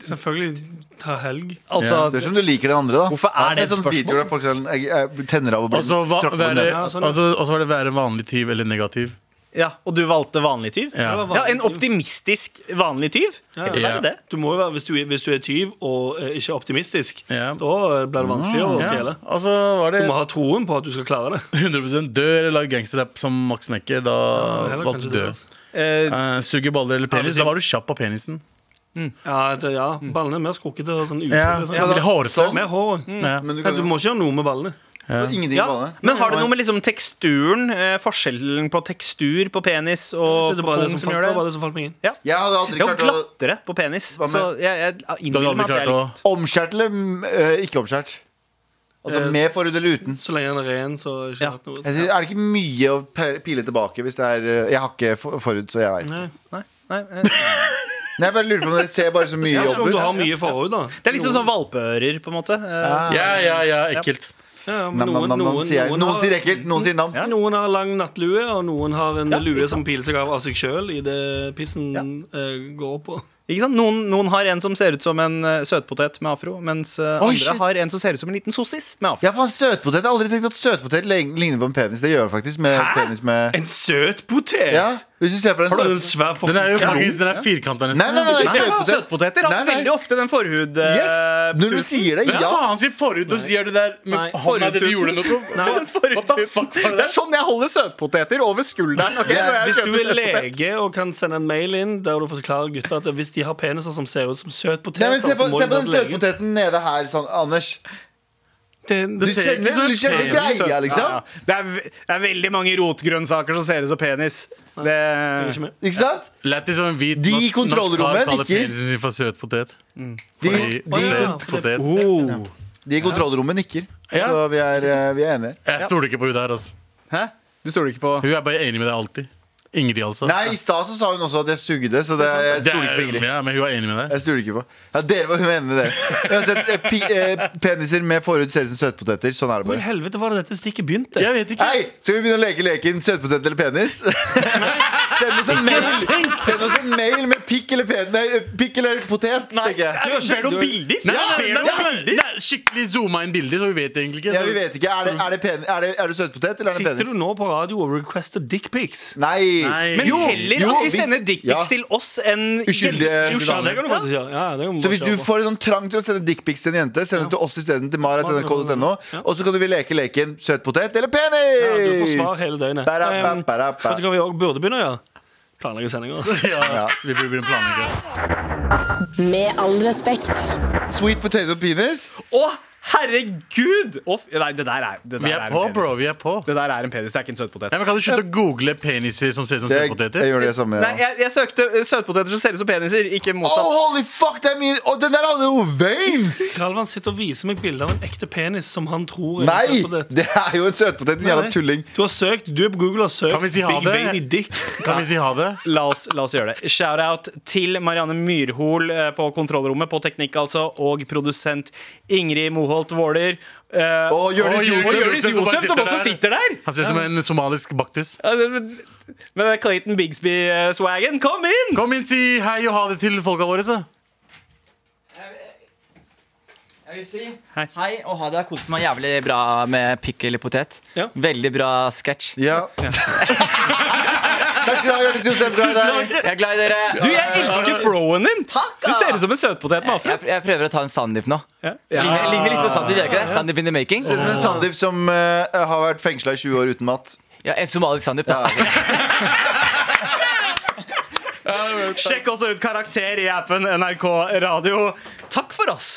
C: Selvfølgelig ta helg.
B: altså,
D: Det er som du liker den andre, da.
B: Hvorfor er det et
D: sånn
B: spørsmål?
D: Videoer, der folk er, sånn, jeg, jeg tenner av å bli
E: Og
C: Altså,
E: så hva-
D: tråkket på
E: være-
D: nøtt.
C: Ja, sånn, ja.
E: og så- og så var det være vanlig tyv eller negativ.
B: ja, Og du valgte vanlig tyv?
E: Ja.
C: Det var
B: Ja, En
C: vanlig.
B: optimistisk vanlig tyv?
C: Ja.
B: Eller er det det?
C: Du må jo være, hvis, du, hvis du er tyv og eh, ikke er optimistisk,
E: Ja. Mm,
C: da eh, blir det vanskeligere å stjele.
E: Og så var det
C: Du må ha troen på at du skal klare det.
E: 100 dø eller lage gangsterrap som Max Mekker. Da
C: heller
E: valgte
C: kanskje
E: du dø.
C: det, altså.
B: Eh,
E: Eh, suge baller eller penis.
B: Ja,
E: Da var du kjapp på penisen.
C: Ja, det, ja. Ballene er mer skrukkete og sånn ufri.
E: Ja,
C: og sånn.
E: ja, Mm. veldig hårete.
C: Mer hår.
E: Ja.
D: Men
C: Ja,
D: du kan
C: du
D: jo
C: må ikke gjøre noe med ballene.
D: ingenting
B: ja.
D: på det.
B: Men har det noe med liksom teksturen, eh, forskjellen på tekstur på penis
C: Så
B: og
C: det er
B: på
C: bare det
B: pung
C: som
B: som
C: falt,
B: gjør
C: det var
B: det?
C: bare det som falt meg inn.
D: Jeg hadde aldri
B: Det er jo
D: klart å
B: glattere på penis,
D: Hva med-
B: så jeg, jeg
E: Du hadde
B: innbiller
E: aldri
B: meg at jeg
E: klart å
B: er litt
D: omskjærte eller eh, ikke omskjært. Altså
C: Eh,
D: med forhud eller uten.
C: Så lenge den er ren, så har jeg ikke
B: Ja.
C: hatt noe.
D: Jeg synes, er det ikke mye å pe- pile tilbake hvis det er eh, Jeg har ikke for- forhud, så jeg veit.
C: Nei.
B: Nei, eh,
D: Nei, jeg bare lurer på om dere ser bare så mye
C: Ja,
D: jobb
C: Som om du har
D: ut.
C: mye forhud, da.
B: Det er litt sånn sånn valpeører, på en måte. Eh,
E: Ja, ja, ja, ekkelt.
B: sånn-
C: Ja, ja, men
D: Nam, nam,
C: noen,
D: nam, nam,
C: noen,
D: sier jeg.
C: noen
D: Noen
C: har-
D: sier ekkelt, noen sier nam.
C: Noen har lang nattlue, og noen har en lue som piler seg av av seg sjøl idet pissen eh, går på.
B: Ikke sant? Noen, noen har en som ser ut som en eh, søtpotet med afro, mens eh,
D: Oi,
B: andre
D: shit.
B: har en som ser ut som en liten sossis med afro.
D: Ja, faen, søtpotet. Jeg har aldri tenkt at søtpotet lign- ligner på en penis. Det gjør det faktisk. Med penis med
C: En søt potet!
D: ja, Hvis du ser for
C: Har du
D: deg en
C: en
D: søt...
C: svær
E: Den er jo
C: forhud?
E: faktisk Den er firkanta nesten.
D: Nei, nei, nei,
B: Ja,
D: søtpotet.
B: Søtpoteter har
D: Nei, nei.
B: veldig ofte den forhud... eh,
D: Yes! Når du sier det,
E: Hva
D: ja.
E: faen sier forhud? Og så gjør du det der med
C: Nei,
E: hånda di du gjorde
C: forhudtuten.
E: noe
C: Nei,
E: What the fuck
B: Det
E: var det der?
B: er sånn jeg holder søtpoteter over skulderen. ok?
D: Ja,
B: Så jeg
C: Hvis du
B: kjøper
C: er
B: søtpotet.
C: lege og kan sende en mail inn der du forklarer gutta at hvis de har peniser som ser ut som søt potet
D: Nei, men se på, se på den søtpoteten nede her, sånn, Anders. Du kjenner, du kjenner greia, liksom.
B: Ja, det, er, ve- det er veldig mange rotgrønnsaker som ser ut som penis. Det,
D: Ikke sant?
E: Lættis som en hvit
D: De i
E: norsk-
D: kontrollrommet
E: norsk kar kaller
D: nikker.
E: penisen sin for søt potet.
D: De,
E: Fordi-
D: de,
E: potet, potet.
B: Oh.
D: de i kontrollrommet nikker.
E: Ja.
D: Så vi er, eh, vi er enige.
E: Jeg stoler ikke på hun der, altså.
B: hæ? Du stoler ikke på
E: Hun er bare enig med deg alltid. Ingrid, altså.
D: Nei, i stad så sa hun også at jeg sugde, så det, jeg
E: Det er-
D: stoler ikke på Ingrid.
E: Ja, men hun er enig med deg.
D: Jeg stoler ikke på Ja, dere var hun enig med dere. Uansett, eh, pi- eh, peniser med forhud ser ut som søtpoteter. Sånn er det
C: Hvor i
D: bare.
C: helvete var det dette stikket begynte?
E: Jeg vet ikke.
D: Hei, skal vi begynne å leke leken søtpotet eller penis? Send oss en mail Send oss en mail med pikk eller, pen, nei, pikk eller potet, tenker jeg.
B: Ser du bilder?
E: Nei, nei, nei, nei, nei, nei, skikkelig zooma inn bilder, så vi vet egentlig ikke.
D: Ja, vi vet ikke. Er det, er det, pen, er det, er det søtpotet eller er det
C: Sitter du
D: penis?
C: nå på radio og requester dickpics?
D: Nei.
E: Nei.
B: Men
E: Jo,
B: heller
D: jo,
B: at de
D: hvis-
B: sender dickpics
D: ja.
B: til oss enn
D: Uskyldige
C: Ja, det kan du faktisk gjøre. Ja, det kan
D: Så hvis
C: bare
D: du
C: kjøre på.
D: får en sånn trang til å sende dickpics til en jente, send det til oss isteden. Til mara.nrk.no. Og så kan du vi leke leken søtpotet eller
C: ja, Du får svar
D: penis!
C: hele døgnet.
D: Bara, ba,
C: Ehm,
D: bara, ba.
C: Vet du hva vi også burde begynne å gjøre? Planlegge sendinger. altså.
E: Ja, ass, vi burde begynne å planlegge. ass.
A: Med all respekt.
D: Sweet potato penis.
B: Å, herregud! Å, f- nei, det der er, det der
E: Vi er
B: er
E: på,
B: en penis.
E: bro. Vi er på.
B: Det der er en penis, det er ikke en søtpotet.
E: Nei, men Kan du slutte å google peniser som ser ut som
D: Jeg, jeg
E: søtpoteter?
D: gjør det samme.
B: Nei,
D: Ja.
B: jeg, jeg søkte eh, søtpoteter som ser ut som peniser, ikke
D: Oh,
B: motsatt.
D: holy fuck, det er mye Å, den der hadde jo veins!
C: Galvan sitter og viser meg bilder av en ekte penis som han tror er
D: Nei!
C: søt potet.
D: Det er jo en søtpotet, en jævla
C: Nei.
D: tulling.
C: Du har søkt, du er på Google og har søkt
E: Kan vi si ha
C: Big
E: det?
C: Baby Dick.
E: Kan vi si ha det?
B: La oss, la oss gjøre det. Shout-out til Marianne Myrhol eh, på kontrollrommet, på teknikk altså, og produsent Ingrid Moholt Våler. eh,
D: Å, Jonis
E: Å,
B: og
E: Jonis
D: Josef.
B: Jonis Josef, som også sitter der!
E: Han ser ut som en somalisk baktus.
B: Ja, det- men- Men det er Clayton Bigsby-swagen, kom inn!
E: Kom inn, si hei og ha det til folka våre, så.
G: Jeg vil si
B: Hei.
G: hei og ha det. Jeg har kost meg jævlig bra med pikkel i potet.
C: Ja.
G: Veldig bra sketsj.
D: Ja. Takk skal du ha, Jørgen Tusen. Bra i deg.
G: Jeg er glad i dere.
B: Du, jeg elsker froen din! Du ser ut som en søtpotet med
G: jeg,
B: afro.
G: jeg prøver å ta en Sandeep nå. Ligner, ligner litt på Sandeep, gjør jeg ikke det? Sandeep in the making.
D: Ser ut som en Sandeep som eh, har vært fengsla i 20 år uten mat.
G: Ja, en somalisk Sandeep, da.
D: Ja.
B: Sjekk også ut Karakter i appen NRK Radio. Takk for oss!